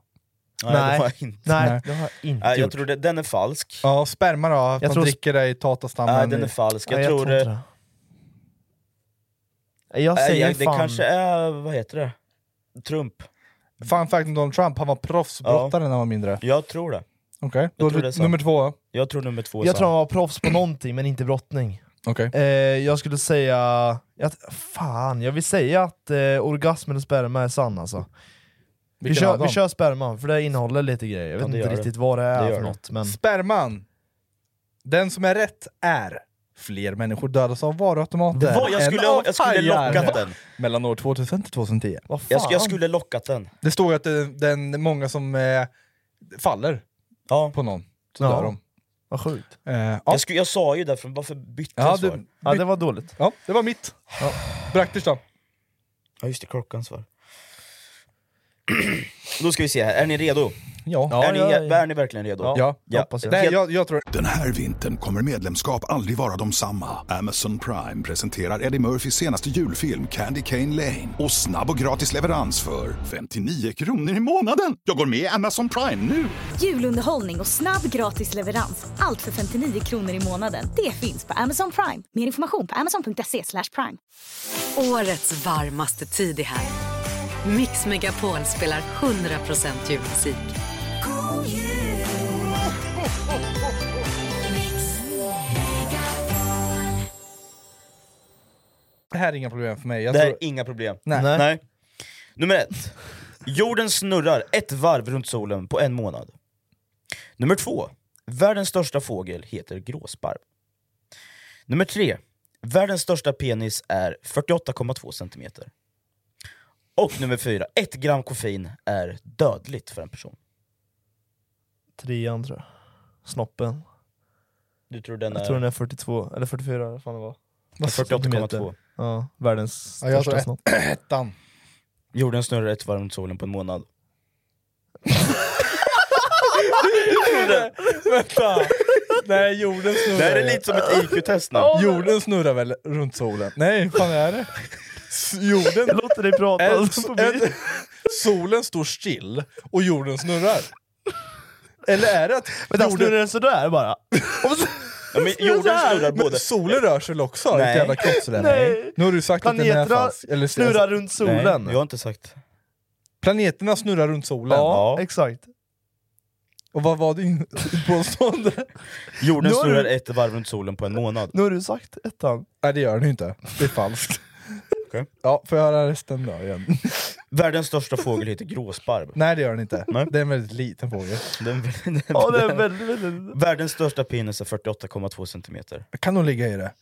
S4: Nej, det
S5: Nej.
S4: var jag inte.
S5: Nej, det har jag inte
S4: Nej, jag
S5: gjort.
S4: tror det, den är falsk.
S3: Ja, sperma då? Att
S5: Jag
S3: man
S5: tror-
S3: dricker det i
S4: Nej,
S3: tatastammen?
S4: den är
S3: i-
S4: falsk. Jag
S5: Nej,
S4: tror...
S5: inte
S4: eh,
S5: det. Jag
S4: nej,
S5: säger
S4: jag, det
S5: fan...
S4: kanske är, vad heter det? Trump.
S3: Fun fact om Donald Trump, han var proffsbrottare när han var mindre.
S4: Jag tror det.
S3: Okej, då
S4: tror
S3: är
S4: det är
S3: det
S4: sant.
S3: nummer två. Okej.
S4: Jag tror nummer två är
S5: Jag tror
S4: sann.
S5: han var proffs på någonting, men inte brottning. Eh, jag skulle säga... Att, fan, jag vill säga att eh, orgasmen och sperma är sann alltså. Vi
S3: Vilken av
S5: kör,
S3: dem?
S5: vi kör sperman, för det innehåller lite grejer. Jag
S4: Ja,
S5: vet
S4: det
S5: inte
S4: gör det.
S5: riktigt vad det är
S4: Det gör
S5: för
S4: det.
S5: något, men...
S3: Sperman. Den som är rätt är fler människor dödas av varuautomater
S4: Vad, jag
S3: än
S4: skulle-
S3: av
S4: jag skulle
S3: hajar.
S4: lockat den.
S3: Mellan år 2000 till 2010.
S5: Vad fan?
S4: Jag, sk- jag skulle lockat den.
S3: Det står ju att det, den, det är många som eh, faller
S4: Ja.
S3: på någon, så
S5: Ja.
S3: dör de.
S5: Vad sjukt.
S3: Eh, ja.
S4: Jag, sku, jag sa ju därför, varför bytte
S3: Ja,
S4: jag svar?
S3: du,
S5: Ja, det var dåligt.
S3: ja, det var mitt. Praktiskt då.
S4: Ja just det, klockan svar. Då ska vi se här, är ni redo?
S3: Ja.
S4: är, ni, är ni verkligen redo?
S1: Nej,
S3: jag, tror...
S1: Den här vintern kommer medlemskap aldrig vara de samma. Amazon Prime presenterar Eddie Murphys senaste julfilm Candy Cane Lane. Och snabb och gratis leverans för 59 kronor i månaden. Jag går med i Amazon Prime nu!
S2: Julunderhållning och snabb gratis leverans. Allt för 59 kronor i månaden. Det finns på Amazon Prime. Mer information på amazon.se slash prime.
S10: Årets varmaste tid är här. Mix Megapol spelar 100% julmusik.
S3: Det här är inga problem för mig. Jag
S4: det här
S3: tror...
S4: är inga problem.
S3: Nej.
S4: Nej.
S3: Nej.
S4: Nummer ett. Jorden snurrar ett varv runt solen på en månad. Nummer två. Världens största fågel heter gråsparv. Nummer tre. Världens största penis är 48,2 cm. Och nummer fyra. Ett gram koffein är dödligt för en person.
S5: Trean tror jag. Snoppen.
S4: Du tror den
S5: Jag
S4: är-
S5: tror den är 42, eller 44 vad fan det var.
S4: Vad sa du? 48,2.
S5: Ja, världens
S3: Ja, jag
S5: största
S3: tror
S5: snopp.
S3: ettan.
S4: Jorden snurrar ett varv runt solen på en månad. Vänta!
S3: Nej, jorden snurrar.
S4: Det här är lite som ett IQ-test nu.
S3: Jorden snurrar väl runt solen? Nej, vad fan är det? S- Jorden... Jag
S5: låter dig prata. alltså,
S3: solen står still och jorden snurrar. Eller är det att...
S5: Men den snurrar den sådär bara?
S4: Ja, men jorden snurrar
S3: Men
S4: både-
S3: solen rör sig väl också?
S4: Nej.
S3: Ditt jävla kroppslämning.
S5: Nej.
S3: Nu har du sagt att den är
S5: Planeterna
S3: falsk. Eller-
S5: snurrar runt solen.
S4: Nej, jag har inte sagt.
S3: Planeterna snurrar runt solen?
S5: Ja, exakt.
S3: Och vad var din påstående?
S4: Jorden
S3: Nu har
S4: snurrar
S3: du-
S4: ett varv runt solen på en månad.
S5: Nu har du sagt ettan.
S3: Nej det gör den ju inte, det är falskt.
S4: Okej.
S3: Ja, får jag höra resten då igen?
S4: Världens största fågel heter gråsparv.
S3: Nej det gör den inte, det är en väldigt liten fågel.
S4: Den, den,
S5: Ja, det är väldigt, väldigt...
S4: Världens största penis är 48,2 cm.
S3: Jag kan nog ligga i det.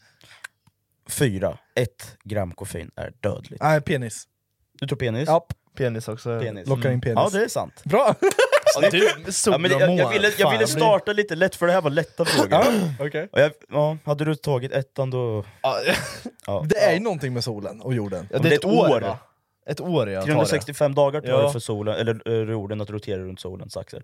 S4: 4. 1 gram koffein är dödligt.
S3: Nej, penis.
S4: Du tror penis?
S3: Ja.
S5: Penis också.
S4: Penis. Mm.
S3: Lockar in penis.
S4: Ja, det är sant.
S3: Bra!
S4: Ja,
S5: du, sol
S4: ja, men jag, jag,
S5: mål.
S4: ville, jag ville
S5: Fan, jag blir-
S4: starta lite lätt, för det här var lätta frågor.
S3: Okej.
S4: Och jag, ja, hade du tagit ettan då... Ja.
S3: Det är ju någonting med solen och jorden.
S5: Ja,
S4: det är ett år.
S5: va? Ett år ja, tar det.
S4: 365 dagar tar
S5: Ja.
S4: det för solen, eller eh, jorden att rotera runt solens axel.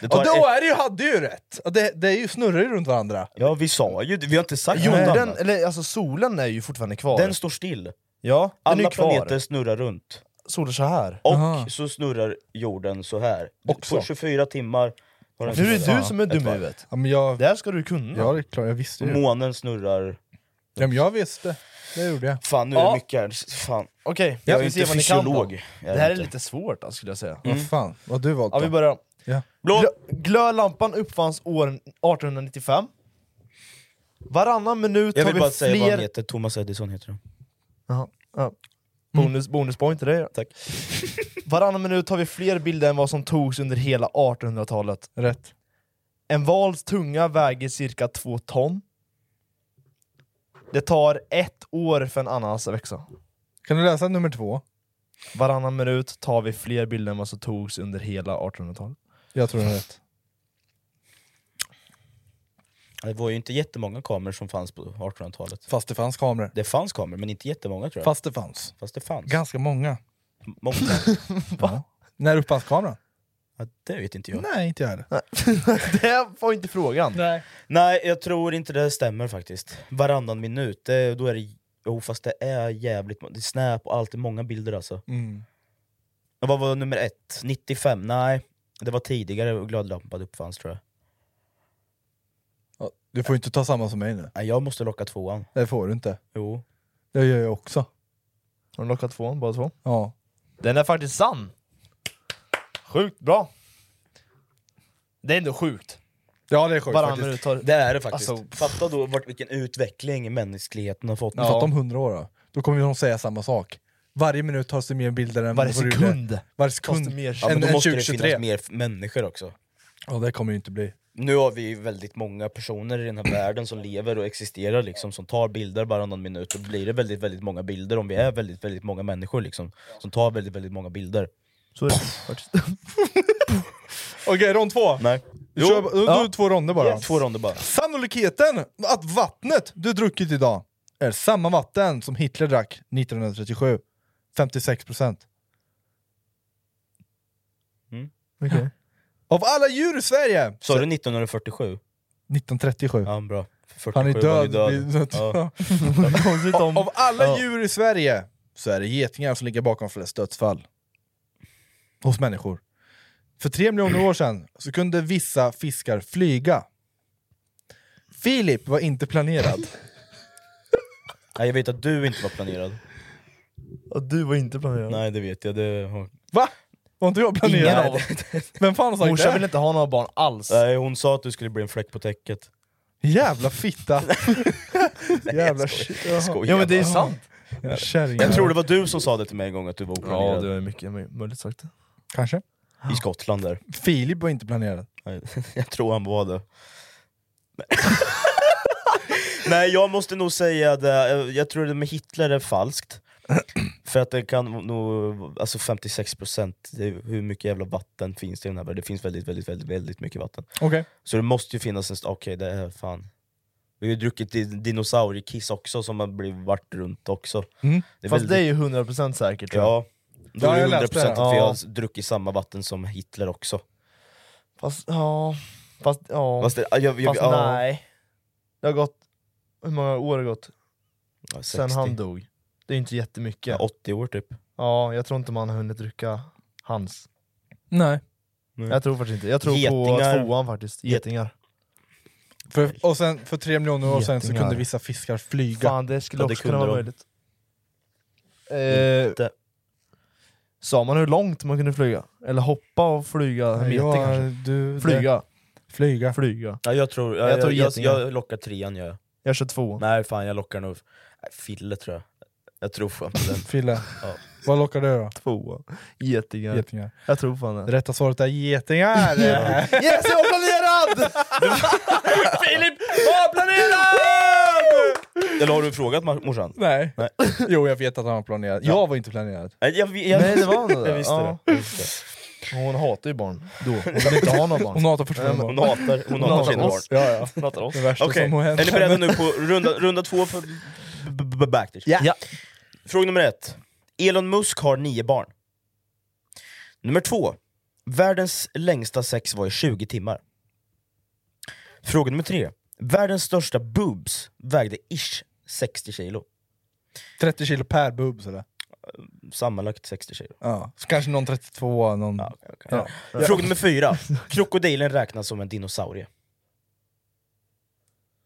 S4: Det
S3: Och
S4: tar
S3: då
S4: ett,
S3: är det ju, hade ju rätt! Och Det, det är ju snurrar ju runt varandra.
S4: ja, vi sa ju det, vi har inte sagt något
S5: Jorden,
S4: annat.
S5: eller alltså solen är ju fortfarande kvar.
S4: Den står still.
S5: ja, den är
S4: Alla
S5: ju kvar.
S4: planeter snurrar runt.
S5: Solen så här.
S4: Och
S3: Aha.
S4: så snurrar jorden så här.
S3: Också.
S4: På 24 timmar har den
S5: Nu är det
S4: snurrat
S5: du som är
S4: ett
S5: dum i
S4: varv.
S5: huvudet.
S3: Ja, men jag,
S5: Det här ska du kunna.
S3: ja, det är klart, jag visste ju.
S4: Månen snurrar...
S3: Ja, men jag visste, det gjorde jag.
S4: Fan nu är
S5: Ja.
S4: det mycket här. Fan.
S5: Okej,
S4: Jag
S5: ska
S4: är
S5: vi se
S4: inte
S5: vad ni kan då?
S4: fysiolog. Jag
S5: Det här är
S4: inte.
S5: lite svårt alltså, skulle jag säga.
S3: Vad fan, vad har du valt
S5: Ja,
S3: då?
S5: vi börjar.
S3: Ja.
S4: Blå!
S5: Glö- glödlampan uppfanns år 1895. Varannan minut
S4: Jag
S5: har
S4: vill
S5: vi
S4: bara säga vad
S5: fler...
S4: han heter, Thomas Edison heter han.
S5: Jaha, ja. Bonus, bonuspoäng till dig. Tack. Varannan minut har vi fler bilder än vad som togs under hela 1800-talet.
S3: Rätt.
S5: En vals tunga väger cirka två ton. Det tar ett år för en ananas att växa.
S3: Kan du läsa nummer två?
S5: Varannan minut tar vi fler bilder än vad som togs under hela 1800-talet.
S3: Jag tror du har rätt.
S4: Det var ju inte jättemånga kameror som fanns på 1800-talet.
S3: Fast det fanns kameror.
S4: Det fanns kameror, men inte jättemånga tror jag.
S3: Fast
S4: Fast,
S3: det fanns.
S4: det fanns.
S3: Ganska många.
S4: Många.
S3: Ja. När uppfanns kameran?
S4: Ja, det vet inte jag.
S3: Nej, inte jag heller.
S5: det var inte frågan.
S3: Nej.
S4: Nej, jag tror inte det stämmer faktiskt. Varannan minut, det, då är det... Jo fast det är jävligt... må- Det är snap och allt, det är många bilder alltså.
S3: Mm.
S4: Och Vad var nummer ett? 95? Nej, det var tidigare glödlampan uppfanns tror jag.
S3: Ja, Du får ju inte ta samma som mig nu.
S4: Nej, jag måste locka tvåan.
S3: Det får du inte.
S4: Jo.
S3: Det gör jag också.
S5: Har du lockat tvåan, bara två?
S3: Ja.
S5: Den är faktiskt sann! Sjukt bra! Det är ändå sjukt.
S3: Ja det är sjukt
S5: Varannan
S3: faktiskt.
S5: minut tar...
S4: Det är det faktiskt.
S5: Alltså,
S4: Fatta då vart, vilken utveckling mänskligheten har fått.
S3: Ja. Fatta om hundra år då. Då kommer de säga samma sak. Varje minut tas det mer bilder än
S5: varje
S3: vad du gjorde.
S5: sekund!
S3: Varje
S5: Kostar
S3: sekund.
S5: mer
S4: Ja, men
S3: än-
S4: då
S3: än
S4: måste det finnas
S3: 2023.
S4: mer f- människor också.
S3: Ja det kommer ju inte bli.
S4: Nu har vi ju väldigt många personer i den här världen som lever och existerar liksom, som tar bilder varannan minut. Då blir det väldigt, väldigt många bilder om vi är väldigt, väldigt många människor liksom, som tar väldigt, väldigt många bilder.
S5: Så är det faktiskt.
S3: Okej, rond två.
S4: Nej.
S3: Du kör, då,
S5: Ja.
S3: då två ronder bara.
S4: Två ronder bara.
S3: Sannolikheten att vattnet du druckit idag är samma vatten som Hitler drack 1937 56 procent.
S4: Mm.
S3: Av alla djur i Sverige!
S4: Sa du 1947?
S3: 1937.
S4: Ja, bra. 47
S3: Han är
S4: var
S3: död.
S4: ju
S3: Ja.
S4: Ja.
S3: av, av alla
S4: Ja.
S3: djur i Sverige så är det getingar som ligger bakom flest dödsfall. Hos människor. För tre miljoner år sedan så kunde vissa fiskar flyga. Filip var inte planerad.
S4: Nej, jag vet att du inte var planerad.
S5: du var inte planerad.
S4: Nej, det vet jag. Det har...
S3: Va? Var inte jag planerad?
S4: Ingen av-
S3: Vem fan har sagt
S4: Morsan
S3: det?
S4: vill
S5: inte ha några barn alls.
S4: Nej, hon sa att du skulle bli en fläck på täcket.
S3: Jävla fitta! Jävla shit. Jaha.
S4: Skojar bara.
S3: Ja. Kärringar.
S4: Jag tror det var du som sa det till mig en gång, att du var oplanerad.
S5: du har mycket möjligt sagt det.
S3: Kanske.
S4: I Skottland där.
S3: Filip var inte planerad.
S4: Nej, jag tror han var det. Nej, jag måste nog säga det. eh, Jag tror det med Hitler är falskt. För att det kan nog, alltså 56% det är hur mycket jävla vatten finns det i den här världen? Det finns väldigt, väldigt, väldigt, väldigt mycket vatten.
S3: Okej.
S4: Så det måste ju finnas en, st- okej det är fan. Vi har ju druckit di- dinosauriekiss också som har blivit vart runt också.
S5: Mm. Fast
S4: väldigt-
S5: det är ju 100% säkert tror jag.
S4: Ja, då
S5: Ja,
S4: är
S5: jag
S4: det 100%
S5: läste det.
S4: att vi
S5: Ja.
S4: har druckit samma vatten som Hitler också.
S5: Fast ja, fast ja.
S4: Fast det- jag- jag-
S5: Fast
S4: ja.
S5: nej. Det har gått, hur många år har det gått?
S4: Ja,
S5: Sen
S4: 60.
S5: han dog. Det är inte jättemycket.
S4: Ja, 80 år typ.
S5: Ja, jag tror inte man har hunnit dricka hans.
S3: Nej.
S5: Jag tror faktiskt inte, jag tror på tvåan faktiskt, getingar.
S3: För, och sen för tre miljoner år sedan så
S5: Getingar.
S3: kunde vissa fiskar flyga.
S5: Fan det skulle också kunna vara möjligt. Eh,
S4: Inte.
S5: Sa man hur långt man kunde flyga? Eller hoppa och flyga?
S3: Nej,
S5: meter
S3: jag-
S5: kanske?
S3: du-
S5: flyga.
S3: Flyga.
S5: Flyga.
S4: Ja, jag tror, jag,
S5: Jag
S4: jag,
S5: tar
S4: jag, jag,
S5: getingar.
S4: lockar trean gör jag.
S5: Jag kör tvåan.
S4: Nej fan jag lockar nog, nej, Fille tror jag. Jag tror fan på den.
S3: Fille.
S4: Ja.
S3: Vad lockar du då?
S5: Tvåa. Getingar.
S3: Getingar.
S5: Jag tror fan det.
S3: Rätta svaret är getingar!
S5: Yes, jag var planerad!
S4: Filip var Eller har du frågat ma- morsan?
S3: Nej. Jo, jag vet att han var planerad. Jag var inte planerad.
S4: Nej, jag, jag,
S5: Nej det var nog det.
S4: Jag visste
S5: ja.
S4: det.
S5: Hon hatar ju barn då. Hon vill inte ha några barn.
S3: Hon hatar fortfarande barn.
S4: Hon hatar, hon hatar sina barn.
S5: oss.
S3: Ja, ja.
S4: Hon hatar oss.
S3: Det värsta
S4: Okej,
S3: som har hänt
S4: är ni beredda
S3: henne.
S4: nu på runda, runda två för b- b- b- Backdish?
S5: Ja.
S4: Fråga nummer ett. Elon Musk har nio barn. Nummer två. Världens längsta sex var i 20 timmar. Fråga nummer tre. Världens största boobs vägde ish 60 kilo.
S3: 30 kilo per bub sådär.
S4: Sammanlagt 60 kilo.
S3: Ja. Så kanske någon 32, någon... Ja.
S4: Fråga nummer fyra. Krokodilen räknas som en dinosaurie.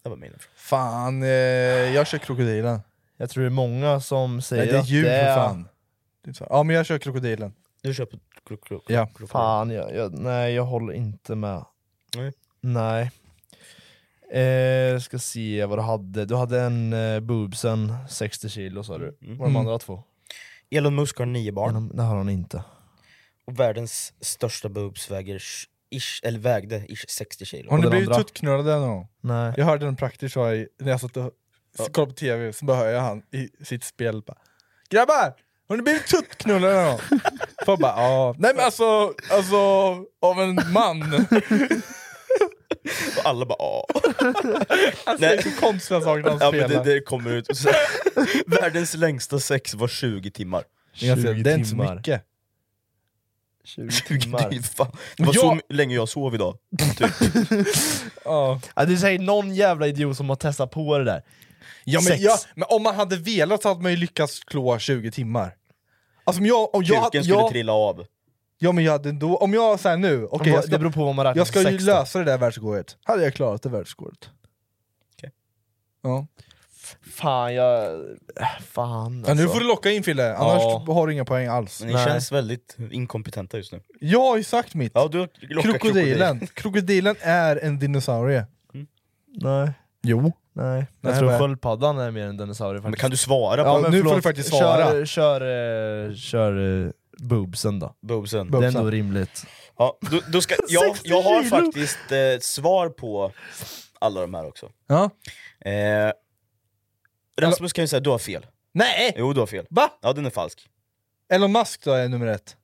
S4: Det var mina frågor.
S3: Fan, eh, jag kör krokodilen.
S5: Jag tror det är många som säger
S3: Nej, det är
S5: att
S3: djur
S5: det är...
S3: för fan. Det är så- Ja, men jag kör krokodilen.
S4: Du köper krok, krok,
S3: Ja.
S4: krok,
S5: Fan, jag, jag, nej jag håller inte med.
S4: Nej.
S5: Nej. Eh, ska se vad du hade. Du hade en eh, boobsen, 60 kilo sa du. Var de
S4: Mm.
S5: andra två?
S4: Elon Musk har nio barn.
S5: Men de- Det har han inte.
S4: Och världens största boobs väger sh- ish, eller vägde ish 60 kilo.
S3: Har ni
S4: Och den
S3: blivit
S4: andra-
S3: tuttknullade någon gång?
S5: Nej.
S3: Jag hörde en praktisk var i- när jag satt och s- kollade på tv, så bara hör jag han i sitt spel bara Grabbar! Har ni blivit tuttknullade någon gång? Folk bara ja, nej men alltså, alltså av en man.
S4: Och alla bara "Ah."
S3: Alltså, det
S4: Nej.
S3: är så konstiga saker när han
S4: Ja
S3: spelar.
S4: men det, det kommer ut. Och så- Världens längsta sex var 20 timmar.
S3: Det är ganska- det är inte så
S5: timmar.
S3: mycket.
S5: 20
S4: Det, är
S5: timmar.
S4: fan, det var
S3: Ja.
S4: så m- länge jag sov idag. Typ.
S3: Ja.
S5: Ja, det är säkert någon jävla idiot som har testat på det där.
S3: Ja, men,
S5: Sex.
S3: ja, men om man hade velat så hade man ju lyckats klå 20 timmar. Alltså om jag... Om jag,
S4: Kuken skulle
S3: jag
S4: trilla av.
S3: ja men jag hade då, om jag såhär nu, okej jag
S5: det
S3: ska,
S5: beror på vad man räknar
S3: jag ska
S5: som
S3: ju
S5: sex då.
S3: lösa det där världsrekordet. Hade jag klarat det världsrekordet?
S4: Okej.
S3: Ja.
S5: Fan jag... äh, Fan
S3: Ja, nu
S5: alltså.
S3: får du locka in Fille, annars
S5: Ja.
S3: har du inga poäng alls.
S4: Men ni
S5: Nej.
S4: känns väldigt inkompetenta just nu.
S3: Jag har ju sagt mitt.
S4: Ja, du lockar
S3: krokodilen. krokodilen är en dinosaurie.
S5: Nej.
S3: Jo.
S5: Nej. Jag
S3: Nej,
S5: tror
S3: men-
S5: sköldpaddan är mer en dinosaurie
S4: Men
S5: faktiskt.
S4: kan du svara på
S3: Ja, men nu får
S5: förlåt.
S3: du faktiskt
S5: Kör,
S3: svara.
S5: kör, eh, kör eh, boobsen då.
S4: boobsen?
S5: Det är
S3: Boobsen.
S5: ändå rimligt.
S4: Ja, då, då ska, jag,
S5: 60
S4: jag har
S5: kilo.
S4: faktiskt eh, svar på alla de här också.
S3: Ja.
S4: Eh, Rasmus kan ju säga du har fel.
S3: Nej!
S4: Jo, du har fel.
S3: Va?
S4: Ja, den är falsk.
S3: Elon Musk då är nummer ett.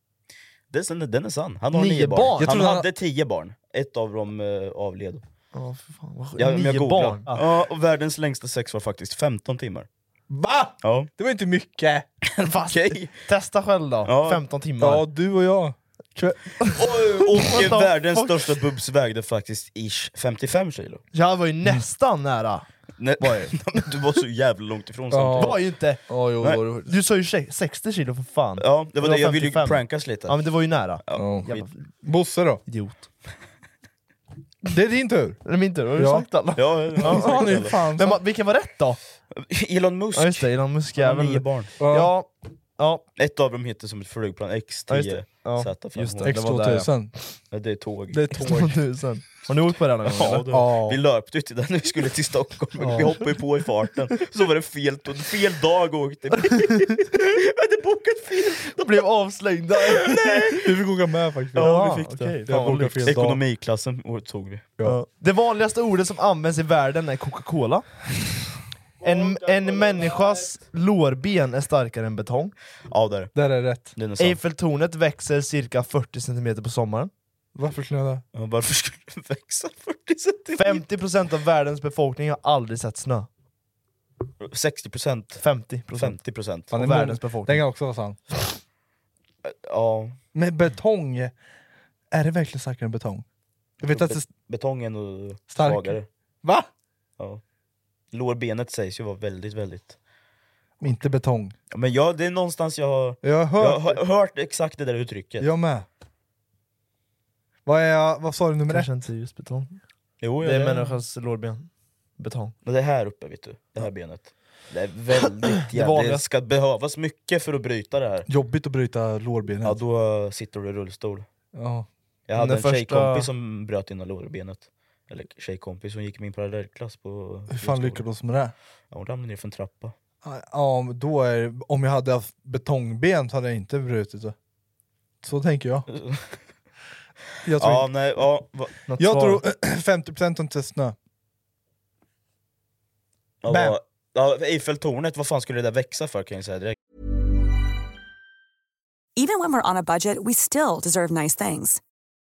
S4: Den, den är sann. Han har
S5: Nio
S4: nio, barn.
S5: barn? Jag
S4: Han
S3: trodde han-
S4: hade tio barn. Ett av dem eh, avled.
S5: Ja, för fan, vad sjukt.
S4: Ja, men
S5: Nio
S4: jag googlar.
S5: barn? Ah.
S4: Ja, och världens längsta sex var faktiskt 15 timmar.
S3: Va?
S4: Ja.
S3: Det var inte mycket.
S5: Fast, Testa själv då,
S4: Ja.
S5: 15 timmar.
S4: Ja,
S3: du och jag.
S4: Och eh, världens största bubs vägde faktiskt ish 55 kilo.
S5: Jag var ju nästan nära.
S4: Nej, du var så jävla långt ifrån samtidigt.
S5: Var ju inte.
S4: jo,
S5: Nej.
S4: var det-
S5: Du sa ju tjej- 60 kilo för fan.
S4: Ja, det var
S5: Jag
S4: det. Jag ville ju
S5: 55.
S4: prankas lite.
S5: Ja men det var ju nära.
S4: Ja.
S5: Jävla
S3: Bosse då?
S5: Idiot.
S3: Det är din tur.
S5: Det är min tur, har du
S3: Ja.
S5: sagt alla?
S4: Ja, ja, ja.
S5: Ja,
S4: nu
S5: fan. Vem, var- vilken var rätt då?
S4: Elon Musk.
S5: Ja just det, Elon Musk
S4: Han har
S5: jävel.
S4: nio barn.
S5: Ja. Ja.
S4: Ett av dem heter som ett flygplan,
S5: Ja, just det.
S4: X10
S5: Ja,
S4: Z5.
S5: just det, det var där, ja. X2000.
S4: Ja, det är tåg.
S5: Det är tåg. 2000. Har ni åkt på det här någon gång,
S4: Ja,
S5: eller?
S4: då.
S5: Ja.
S4: Vi löpte ju till den när vi skulle till Stockholm, men
S5: Ja.
S4: vi hoppade ju på i farten. Så var det fel, tåg, fel dag och åkte vi.
S5: De blev avslängda.
S3: Du fick åka med faktiskt.
S4: Ja, vi fick det.
S5: okej.
S4: Jag
S5: Fan, vad
S4: åkte
S5: lyxigt.
S4: Ekonomiklassen och tog vi.
S5: Ja. Det vanligaste ordet som används i världen är Coca-Cola. En, en människas lårben är starkare än betong.
S4: Ja, där.
S3: Där är rätt.
S4: Den är sant.
S5: Eiffeltornet växer cirka 40 cm på sommaren.
S3: Varför skulle jag det?
S4: Ja, varför skulle den växa 40 cm?
S5: 50% av världens befolkning har aldrig sett snö.
S4: 60 procent.
S5: 50 procent.
S4: 50 procent.
S5: Fan, det är världens befolkning.
S3: Den kan också vara sann.
S4: Ja.
S3: Med betong, är det verkligen starkare än betong? Jag vet att det...
S4: Bet- Betongen och
S3: Starkare.
S4: svagare.
S3: Va?
S4: Ja. Lårbenet sägs ju vara väldigt, väldigt...
S3: Inte betong.
S4: Ja, Men jag, det är någonstans jag har...
S3: Jag har hört-
S4: jag har hört exakt det där uttrycket.
S3: Jag med. Vad, är, vad sa du nummer ett?
S5: Kanske inte just betong.
S4: Jo,
S5: Det är
S4: det-
S5: människans lårben. Betong.
S4: Men Det här uppe, vet du. Det här benet. Det är väldigt jävla...
S3: vanliga.
S4: Det ska behövas mycket för att bryta det här.
S3: Jobbigt att bryta lårbenet.
S4: Ja, då eh, sitter du i rullstol.
S3: Ja.
S4: Jag hade
S5: Den
S4: en
S5: första-
S4: tjejkompis som bröt ena lårbenet. Eller tjejkompis, hon gick i min parallellklass på...
S3: Hur fan
S4: grundskolan.
S3: lyckades du med det?
S4: Ja, hon ramlade ner för en trappa.
S3: Ja, men då är, om jag hade haft betongben så hade jag inte brutit det. Så tänker jag. Jag tror,
S4: ja, nej, ja, va,
S3: jag tror 50% har inte snö.
S4: ja,
S3: Bam.
S4: va- ja, Eiffeltornet, vad fan skulle det där växa för kan jag säga direkt.
S11: Even when we're on a budget, we still deserve nice things.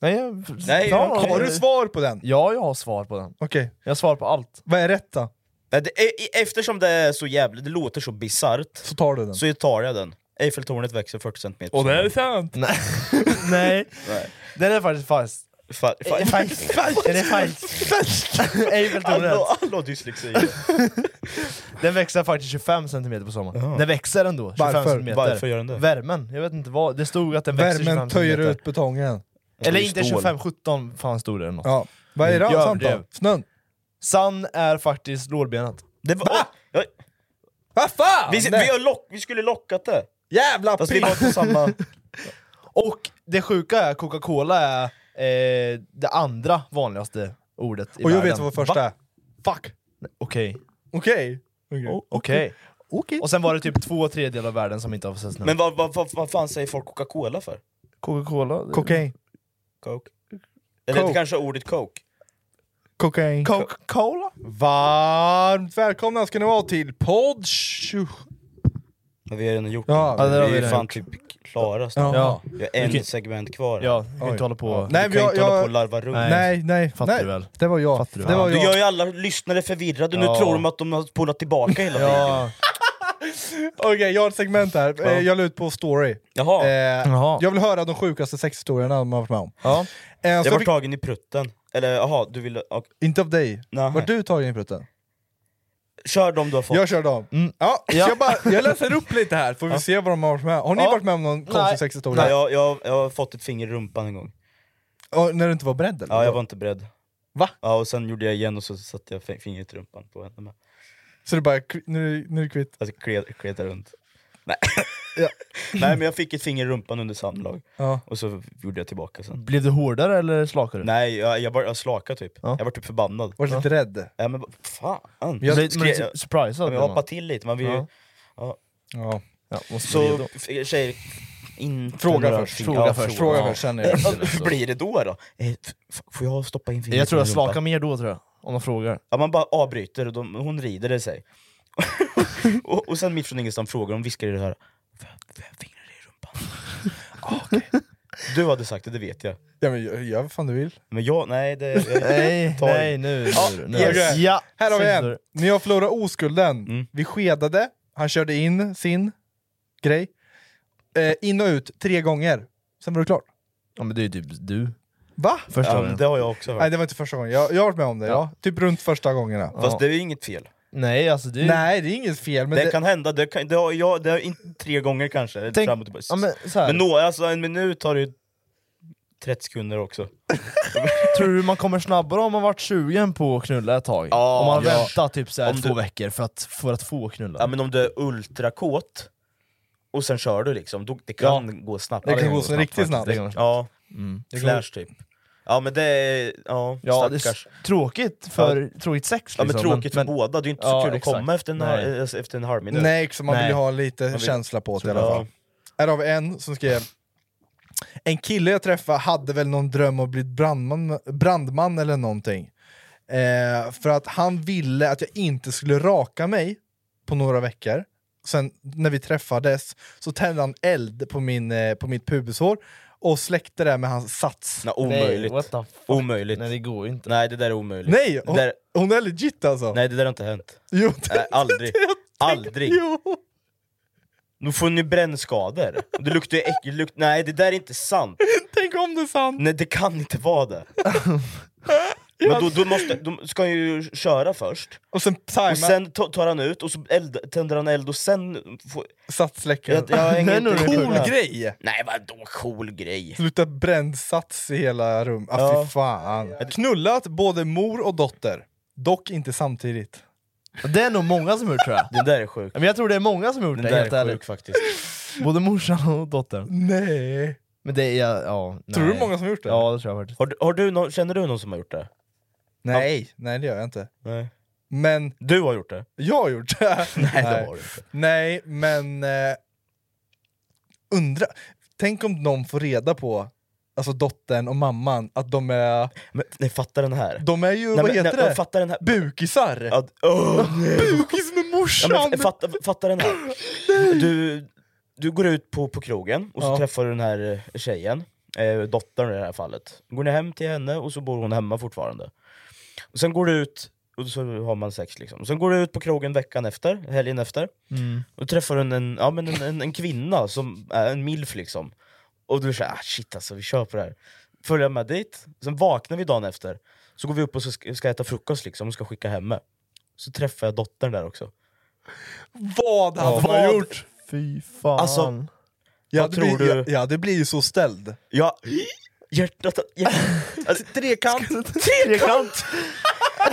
S5: Nej, jag...
S4: Nej,
S5: Ja,
S4: jag-
S5: har
S3: Har du svar på den?
S5: Ja, jag har svar på den.
S3: Okej.
S5: Jag svarar på allt.
S3: Vad är rätt då?
S4: Nej, det, e- e- eftersom det är så jävla, det låter så bisarrt,
S3: Så tar du den.
S4: så tar jag den. Eiffeltornet växer 40 cm.
S5: sant! Nej. Nej.
S4: Nej.
S5: Den är faktiskt falsk.
S4: Fa, fa,
S5: Är falsk? Den är falsk. Eiffeltornet.
S4: alla, alla har dyslexi.
S5: Den växer faktiskt 25 cm på sommaren.
S4: Jaha.
S5: Den växer ändå, 25
S3: Varför?
S5: centimeter.
S4: Varför gör den det?
S5: Värmen, jag vet inte vad. Det stod att den växer
S3: Värmen
S5: 25
S3: töjer
S5: centimeter.
S3: ut betongen.
S5: Eller
S4: Det är
S5: inte
S4: stål.
S5: 25, 17 fan stod det eller något.
S3: Ja. Vad är det
S5: Jag
S3: sant då?
S5: överdrev.
S3: Snön?
S5: Sann är faktiskt lårbenet.
S4: Det var, ja,
S3: Vad fan!
S4: vi, vi, har lock, vi skulle lockat det,
S3: Jävla
S4: fast vi var på samma...
S5: Och det sjuka är, Coca-Cola är eh, det andra vanligaste ordet i
S3: Och jag
S5: världen.
S3: vet vad första
S5: Va?
S3: är. Fuck!
S5: Okej.
S3: Okej. Okej.
S5: Okej.
S3: Okej.
S5: Och sen var det typ två tredjedelar av världen som inte har sett snö.
S4: Men vad, vad, vad, vad fan säger folk Coca-Cola för?
S5: Coca-Cola?
S3: Kokain.
S4: Coke? Eller
S3: Coke.
S4: det kanske är ordet Coke?
S3: Kokain.
S5: Coca-Cola?
S3: Varmt välkomna ska ni vara till podd 20...
S4: Men vi har redan gjort
S3: Ja,
S4: det.
S5: det har vi
S4: vi är ju
S5: redan
S4: fan
S5: gjort.
S4: typ klara snart.
S3: Ja.
S5: Ja.
S4: Vi har en
S5: Okej.
S4: segment kvar. här.
S5: Ja, vi kan
S3: Oj.
S5: inte hålla på...
S3: Nej,
S4: Du
S3: men
S4: kan ju
S3: jag,
S4: inte hålla på
S3: jag,
S4: och larva runt.
S3: Nej, nej,
S5: Fattar
S3: nej.
S5: du väl?
S3: Det var jag.
S5: Fattar du
S3: det
S5: väl?
S3: var
S4: Du
S3: jag.
S4: gör ju alla lyssnare förvirrade, nu
S5: Ja.
S4: tror de att de har spolat tillbaka hela tiden.
S5: Ja.
S3: Okej, jag har ett segment här. Eh, Jag la ut på story.
S4: Jaha,
S3: Eh,
S5: Jaha.
S3: jag vill höra de sjukaste sexhistorierna man har varit med om.
S5: Ja.
S3: Eh, så
S4: jag
S3: jag
S4: var
S3: fick,
S4: tagen i prutten. Eller jaha, du ville... och-
S3: inte av dig.
S4: Nej.
S3: Vart du tagen i prutten?
S4: Kör de du har fått.
S3: Jag körde av. Ja, så Jag, bara, jag läser upp lite här, får vi se vad de har varit med om. Har ni
S5: Ja.
S3: varit med om någon konstig
S5: Nej.
S3: sexhistoria?
S4: Nej, jag, jag, jag har fått ett finger i rumpan en gång.
S3: Och När du inte var beredd eller?
S4: Ja, jag var inte beredd.
S3: Va?
S4: Ja, och sen gjorde jag igen och så satte jag fi- fingret i rumpan på henne med.
S3: Så du bara, kvi- nu, är- nu är du kvitt.
S4: Alltså kled, kled runt. Nej. Nej men jag fick ett finger i rumpan under samlag,
S5: Ja.
S4: och så gjorde jag tillbaka sen.
S5: Blev du hårdare eller slakare?
S4: Nej jag, jag, var, jag slakade typ, jag var typ förbannad.
S5: Var du lite
S3: rädd?
S4: Ja men vad fan.
S5: Men jag- men
S4: Skrev-
S5: typ surprised
S4: liksom- Ja, men
S5: blev
S4: Jag hoppade
S5: man.
S4: till lite, man vill ju...
S5: Ja.
S4: Ja.
S3: Ja.
S5: vara
S4: så
S5: redo.
S4: f- tjejer, inte
S3: Fråga
S4: några
S3: först,
S4: fing-
S3: fråga först, fråga först, sen är det-
S4: Ja, Hur blir det då? då? Eh, f- f- Får jag stoppa in fingret
S5: Jag tror
S4: i
S5: jag
S4: rumpan?
S5: slakar mer då tror jag, om de frågar.
S4: Ja, man bara avbryter och de, hon rider det sig. och, och sen mitt från ingenstans frågar hon, viskar i det här. Får jag- får jag fingrar i rumpan? ah, okej. Du hade sagt det, det vet jag.
S3: Ja, men gör- gör vad fan du vill.
S4: Men jag, nej det... Jag,
S5: Nej,
S4: tar-
S5: nej, nu-
S4: Ja,
S5: nu- nu-
S4: yes.
S5: Okej. Ja,
S3: Här har vi en!
S5: censur.
S3: När jag förlorade oskulden, vi skedade, han körde in sin grej. Eh, in och ut tre gånger, sen var det klart.
S5: Ja men det är ju typ du.
S3: Va?
S5: Första Ja, men gången. det har jag också hört.
S3: Nej det var inte första gången, jag, jag har varit med om det. Ja.
S5: Ja.
S3: Typ runt första gångerna.
S4: Fast det är ju inget fel.
S5: Nej alltså det är ju-
S3: Nej det är inget fel. Men
S4: det, kan hända, det, kan, det har jag det har inte tre gånger kanske.
S5: Tänk-
S4: fram och tillbaka.
S5: ja, men så här.
S4: nå, alltså, en minut tar ju 30 sekunder också.
S5: Tror du man kommer snabbare om man varit sugen på att knulla ett tag?
S4: Ja.
S5: om man
S4: Ja.
S5: väntar typ så här
S4: Om
S5: två
S4: du-
S5: veckor för att, för att få knulla?
S4: Ja, men om du är ultrakåt och sen kör du liksom, då, det kan gå snabbt.
S5: Det kan gå snabbt faktiskt. Det kan gå snabbt.
S4: Ja,
S5: Mm. Det kan
S4: flash typ. Ja men det är, ja,
S5: Ja, det är
S4: stackars.
S5: s- tråkigt för tråkigt sex
S4: Ja
S5: liksom.
S4: men tråkigt för båda, det är ju inte så
S5: Ja,
S4: kul
S5: exakt.
S4: att komma efter en,
S5: Nej.
S4: halv- efter en halv minut.
S3: Nej, så man vill ju ha lite
S4: Man vill-
S3: känsla på det i
S4: Ja.
S3: alla fall. Här har vi en som skrev En kille jag träffade hade väl någon dröm om att bli brandman, brandman eller någonting. Eh, för att han ville att jag inte skulle raka mig på några veckor. Sen när vi träffades så tände han eld på, min, eh, på mitt pubishår och släckte det med hans sats.
S4: Nej, oh. omöjligt.
S5: what the fuck?
S4: Omöjligt. Nej
S5: det går inte.
S4: Nej det där är omöjligt.
S3: Nej,
S4: det
S3: hon,
S4: där,
S3: hon är legit alltså.
S4: nej det där har inte hänt.
S3: Jo,
S4: Nej, aldrig. Aldrig.
S3: Jo.
S4: Nu får ni brännskador. Det luktar ju äckligt. Lukt, nej det där är inte sant.
S3: Tänk om det är sant!
S4: Nej det kan inte vara det. Men då, då måste, de ska ju köra först,
S3: och sen, tajma.
S4: och sen ta- tar han ut och så eld, tänder han eld och sen... Får,
S3: Satsläckare.
S4: jag, jag har ingen
S3: cool grej!
S4: Nej vadå cool grej?
S3: Sluta bränd sats i hela rummet. Ah,
S4: Ja.
S3: fy fan. Knullat både mor och dotter. Dock inte samtidigt.
S5: Det är nog många som gjort tror jag.
S4: Det där är sjukt.
S5: Men jag tror det är många som gjort
S3: Den
S5: det,
S3: där
S5: helt
S3: är sjuk
S5: ärligt.
S4: faktiskt.
S5: Både morsan och dottern.
S3: Nej.
S5: Men det är, ja, ja nej.
S3: Tror du många som har gjort det?
S5: Ja det tror jag faktiskt.
S4: Har, du- har du nå- känner du någon som har gjort det?
S3: Nej, nej det gör jag inte.
S4: Nej.
S3: Men
S4: Du har gjort det?
S3: jag har gjort det.
S4: Nej, det har du inte.
S3: Nej, men... Eh, undra. Tänk om någon får reda på, alltså dottern och mamman, att de är...
S4: Men, nej, fatta den här.
S3: De är ju,
S4: Nej,
S3: vad
S4: men-
S3: heter
S4: nej,
S3: det?
S4: Fatta den här.
S3: Bukisar!
S4: Ja, åh, nej.
S3: Bukis med
S4: Ja,
S3: morsan!
S4: men, fatta, fatta den här. Du, du går ut på, på krogen och så
S3: Ja.
S4: träffar du den här eh, tjejen, eh, dottern i det här fallet. Går ni hem till henne och så bor hon hemma fortfarande. Och sen går du ut, och så har man sex liksom. Och sen går du ut på krogen veckan efter, helgen efter.
S5: Mm.
S4: Och träffar en, en, ja, men en, en, en kvinna, som är en milf liksom. Och du säger ah, shit alltså, vi kör på det här. Följer med dit, sen vaknar vi dagen efter. Så går vi upp och så ska, ska äta frukost liksom, och ska skicka hem mig. Så träffar jag dottern där också.
S3: Vad hade man
S4: Vad?
S3: gjort?
S5: Fy fan.
S4: Alltså,
S3: Jag
S4: Vad
S3: hade,
S4: tror
S3: blivit,
S4: du?
S3: jag, jag hade blivit så ställd.
S4: Ja, hjärtat... hjärtat. Alltså,
S3: Trekant!
S5: Trekant!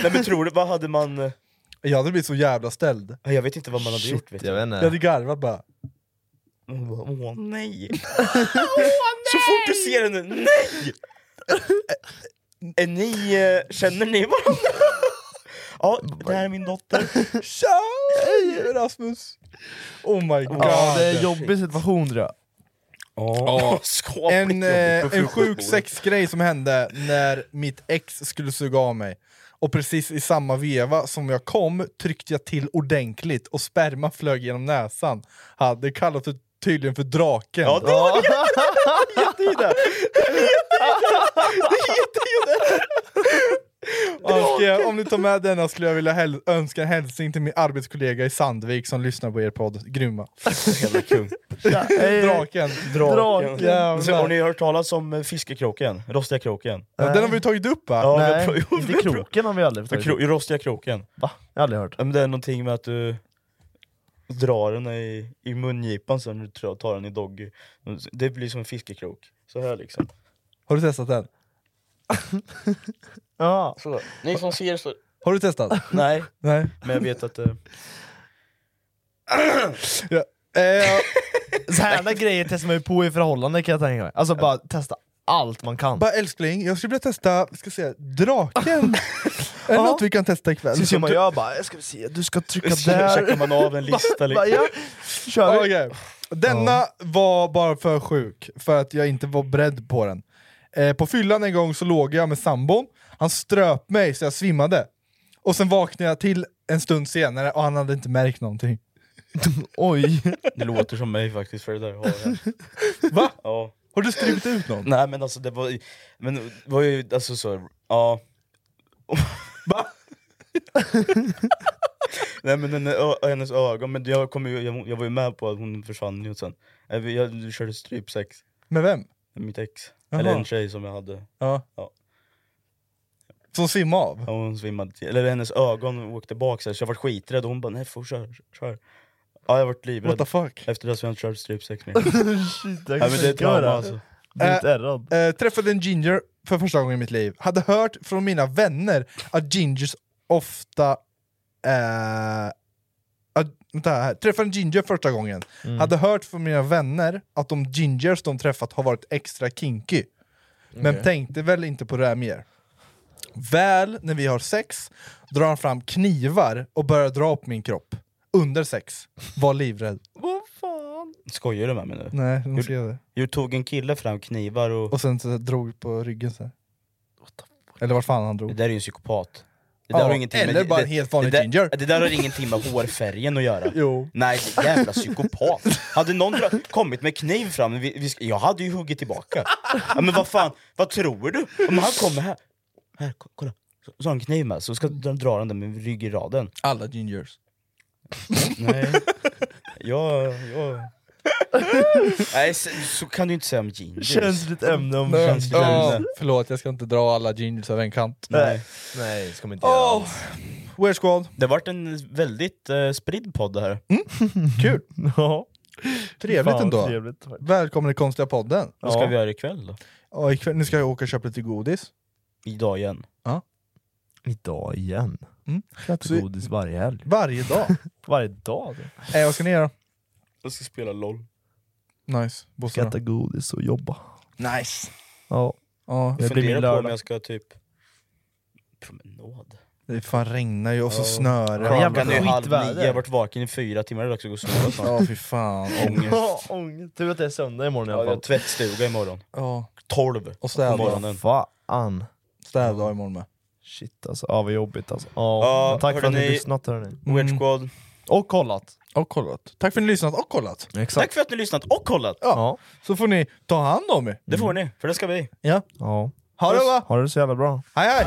S4: Nej men tror du, vad hade man... eh,
S3: Jag hade blivit så jävla ställd.
S4: Jag vet inte vad man hade gjort vet
S5: Jag
S4: du.
S5: vet
S3: Jag hade
S5: inte.
S3: garvat bara.
S4: Hon bara, Åh nej! Så fort du ser henne, nej! Är ni, eh, känner ni varandra? Ja, det här är min dotter.
S3: Tja! Hej Rasmus! Oh my god.
S5: Ja, det är en jobbig situation tror jag.
S4: Ja, skapligt
S3: en,
S4: jobbigt
S3: eh,
S4: på
S3: en sjuk
S4: frukostbordet.
S3: sexgrej som hände när mitt ex skulle suga av mig. Och precis i samma veva som jag kom tryckte jag till ordentligt och sperma flög genom näsan. Hade kallat det tydligen för draken.
S4: Ja, det var det! Det heter ju det!
S3: Och, eh, om ni tar med denna skulle jag vilja häl- önska en hälsning till min arbetskollega i Sandvik som lyssnar på er podd. Grymma.
S4: Jävla kung.
S3: Draken.
S5: Draken.
S3: Jävlar.
S4: Så Har ni hört talas om eh, fiskekroken? Rostiga kroken?
S3: Ja, den har vi tagit upp va?
S4: Ja, vi har
S5: Nej,
S4: pro-
S5: inte kroken har vi aldrig
S4: Ja,
S5: tagit
S4: kro- Rostiga kroken.
S5: Va? Jag har aldrig hört.
S4: Ja, men det är någonting med att du drar den i, i mungipan sen du tra- tar den i doggy. Det blir som en fiskekrok. Så här liksom.
S3: Har du testat den?
S5: Ja.
S4: Så. Ni som ser så...
S3: Har du testat?
S4: Nej,
S3: Nej.
S4: men jag vet att... eh,
S3: Jag,
S5: Sådana grejer testar man ju på i förhållande kan jag tänka mig. Alltså bara testa allt man kan.
S3: Bara älskling, jag skulle vilja testa, ska se, draken. är det något vi kan testa ikväll?
S5: Så ser man jag bara, ska vi se, du ska trycka
S3: Så
S5: där.
S3: checkar man av en lista, liksom.
S5: Bara, ja, kör vi.
S3: Okej. Denna var bara för sjuk för att jag inte var beredd på den. Eh, på fyllan en gång så låg jag med sambon, han ströp mig så jag svimmade. Och sen vaknade jag till en stund senare och han hade inte märkt någonting.
S5: Oj.
S4: Det låter som mig faktiskt för det där har jag.
S3: Va?
S4: Ja.
S3: Har du strypt ut någon?
S4: Nej men alltså det var, ju- men det var ju alltså så, ja.
S3: Va?
S4: Nej men den, ö, hennes ögon, men jag, kom ju, jag, jag var ju med på att hon försvann ju sen. Eh, vi- Jag, jag körde strypsex
S3: Med vem?
S4: med mitt ex.
S3: Jaha.
S4: Eller en tjej som jag hade.
S3: Ja.
S4: Ja.
S3: Som svimmade av?
S4: Ja, hon svimmade till. Eller hennes ögon åkte bak så, här, så jag var skiträdd och hon bara nej får kör, kör. Ja jag vart livrädd.
S3: What the fuck?
S4: Efter det så har jag inte kört strypsex mer.
S5: Shit,
S4: Nej,
S5: jag
S4: men
S5: kan
S4: det är ett trauma alltså.
S5: Blivit
S3: Eh,
S5: ärrad.
S3: Eh, träffade en ginger för första gången i mitt liv. Hade hört från mina vänner att gingers ofta... Eh, att, vänta här. Träffade en ginger första gången. Hade hört från mina vänner att de gingers de träffat har varit extra kinky. Men
S5: Okej.
S3: tänkte väl inte på det här mer. Väl när vi har sex drar han fram knivar och börjar dra på min kropp. Under sex. Var livrädd.
S5: Vad fan?
S4: Skojar du med mig nu?
S3: Nej, de skrev det.
S4: Jo, tog en kille fram knivar och...
S3: Och sen så drog på ryggen så här. Eller vart fan han drog.
S4: Det där är ju en psykopat. Det
S3: Ja,
S4: där har ingenting
S3: eller bara
S4: det,
S3: en helt vanlig
S4: det där,
S3: ginger.
S4: Det där har ingenting med hårfärgen att göra.
S3: Jo.
S4: Nej, det jävla psykopat. Hade någon dra- kommit med kniv fram, vi, vi, sk- jag hade ju huggit tillbaka. Ja, men vad fan, vad tror du? Ja, men han kommer här. Här, ko- kolla. Så, så har han kniv med så ska de dra den där med ryggraden.
S3: Alla gingers.
S4: Nej. Jag, jag... Nej, så, så kan du inte säga om gingers.
S5: Känsligt ämne om
S3: Nej.
S5: känsligt
S3: Ja,
S5: ämne.
S3: förlåt, jag ska inte dra alla gingers över en kant.
S4: Nej.
S5: Nej, det ska man inte göra.
S3: Oh, weird squad.
S4: Det har varit en väldigt eh, spridd podd det här.
S3: Kul.
S5: Ja.
S3: Trevligt
S5: Fan,
S3: ändå.
S5: Trevligt.
S3: Välkommen till konstiga podden.
S4: Vad ska
S5: Ja.
S4: vi göra ikväll då?
S3: Ja, ikväll, nu ska jag åka och köpa lite godis.
S4: Idag igen.
S5: Idag igen.
S3: Mm.
S5: Käkar
S3: Så-
S5: godis varje helg.
S3: Varje dag.
S5: Varje dag? alltså. du.
S3: eh, vad ska ni göra?
S4: Jag ska spela LOL.
S3: Nice. Bosse
S5: Ska
S3: då?
S5: äta godis och jobba.
S3: Nice.
S5: Ja.
S3: Ja,
S5: Det
S4: Jag
S5: blir min
S4: funderar på om
S5: lördag.
S4: jag ska typ... Promenad?
S3: det fan regnar ju och så
S4: Ja.
S3: snöar det.
S5: Ja, jävla
S4: Klockan är ju halv
S5: skitväder.
S4: nio, jag har varit vaken i fyra timmar, det är dags att gå och sova snart.
S3: Ja, fy fan. Ångest.
S5: Ja, ångest. Tur att det är söndag imorgon i
S4: Jag
S5: alla
S4: har
S5: fall.
S4: tvättstuga imorgon.
S3: Ja,
S4: Tolv
S3: och
S4: på
S3: städdag.
S4: morgonen.
S5: Fan.
S3: Städdag imorgon med.
S5: Shit alltså, ja, vad jobbigt alltså. Ja,
S4: Ja,
S5: men tack för att ni
S4: hörni.
S5: har lyssnat hörni.
S4: Weird Squad.
S5: Och kollat.
S3: Och kollat. Tack för att ni lyssnat och kollat.
S5: Exakt.
S4: Tack för att ni har lyssnat och kollat!
S5: Ja.
S3: Så får ni ta hand om er.
S4: Det får ni, för det ska vi.
S3: Ja.
S5: ja.
S3: Ha det bra.
S5: Ha det så jävla bra.
S3: Hej hej!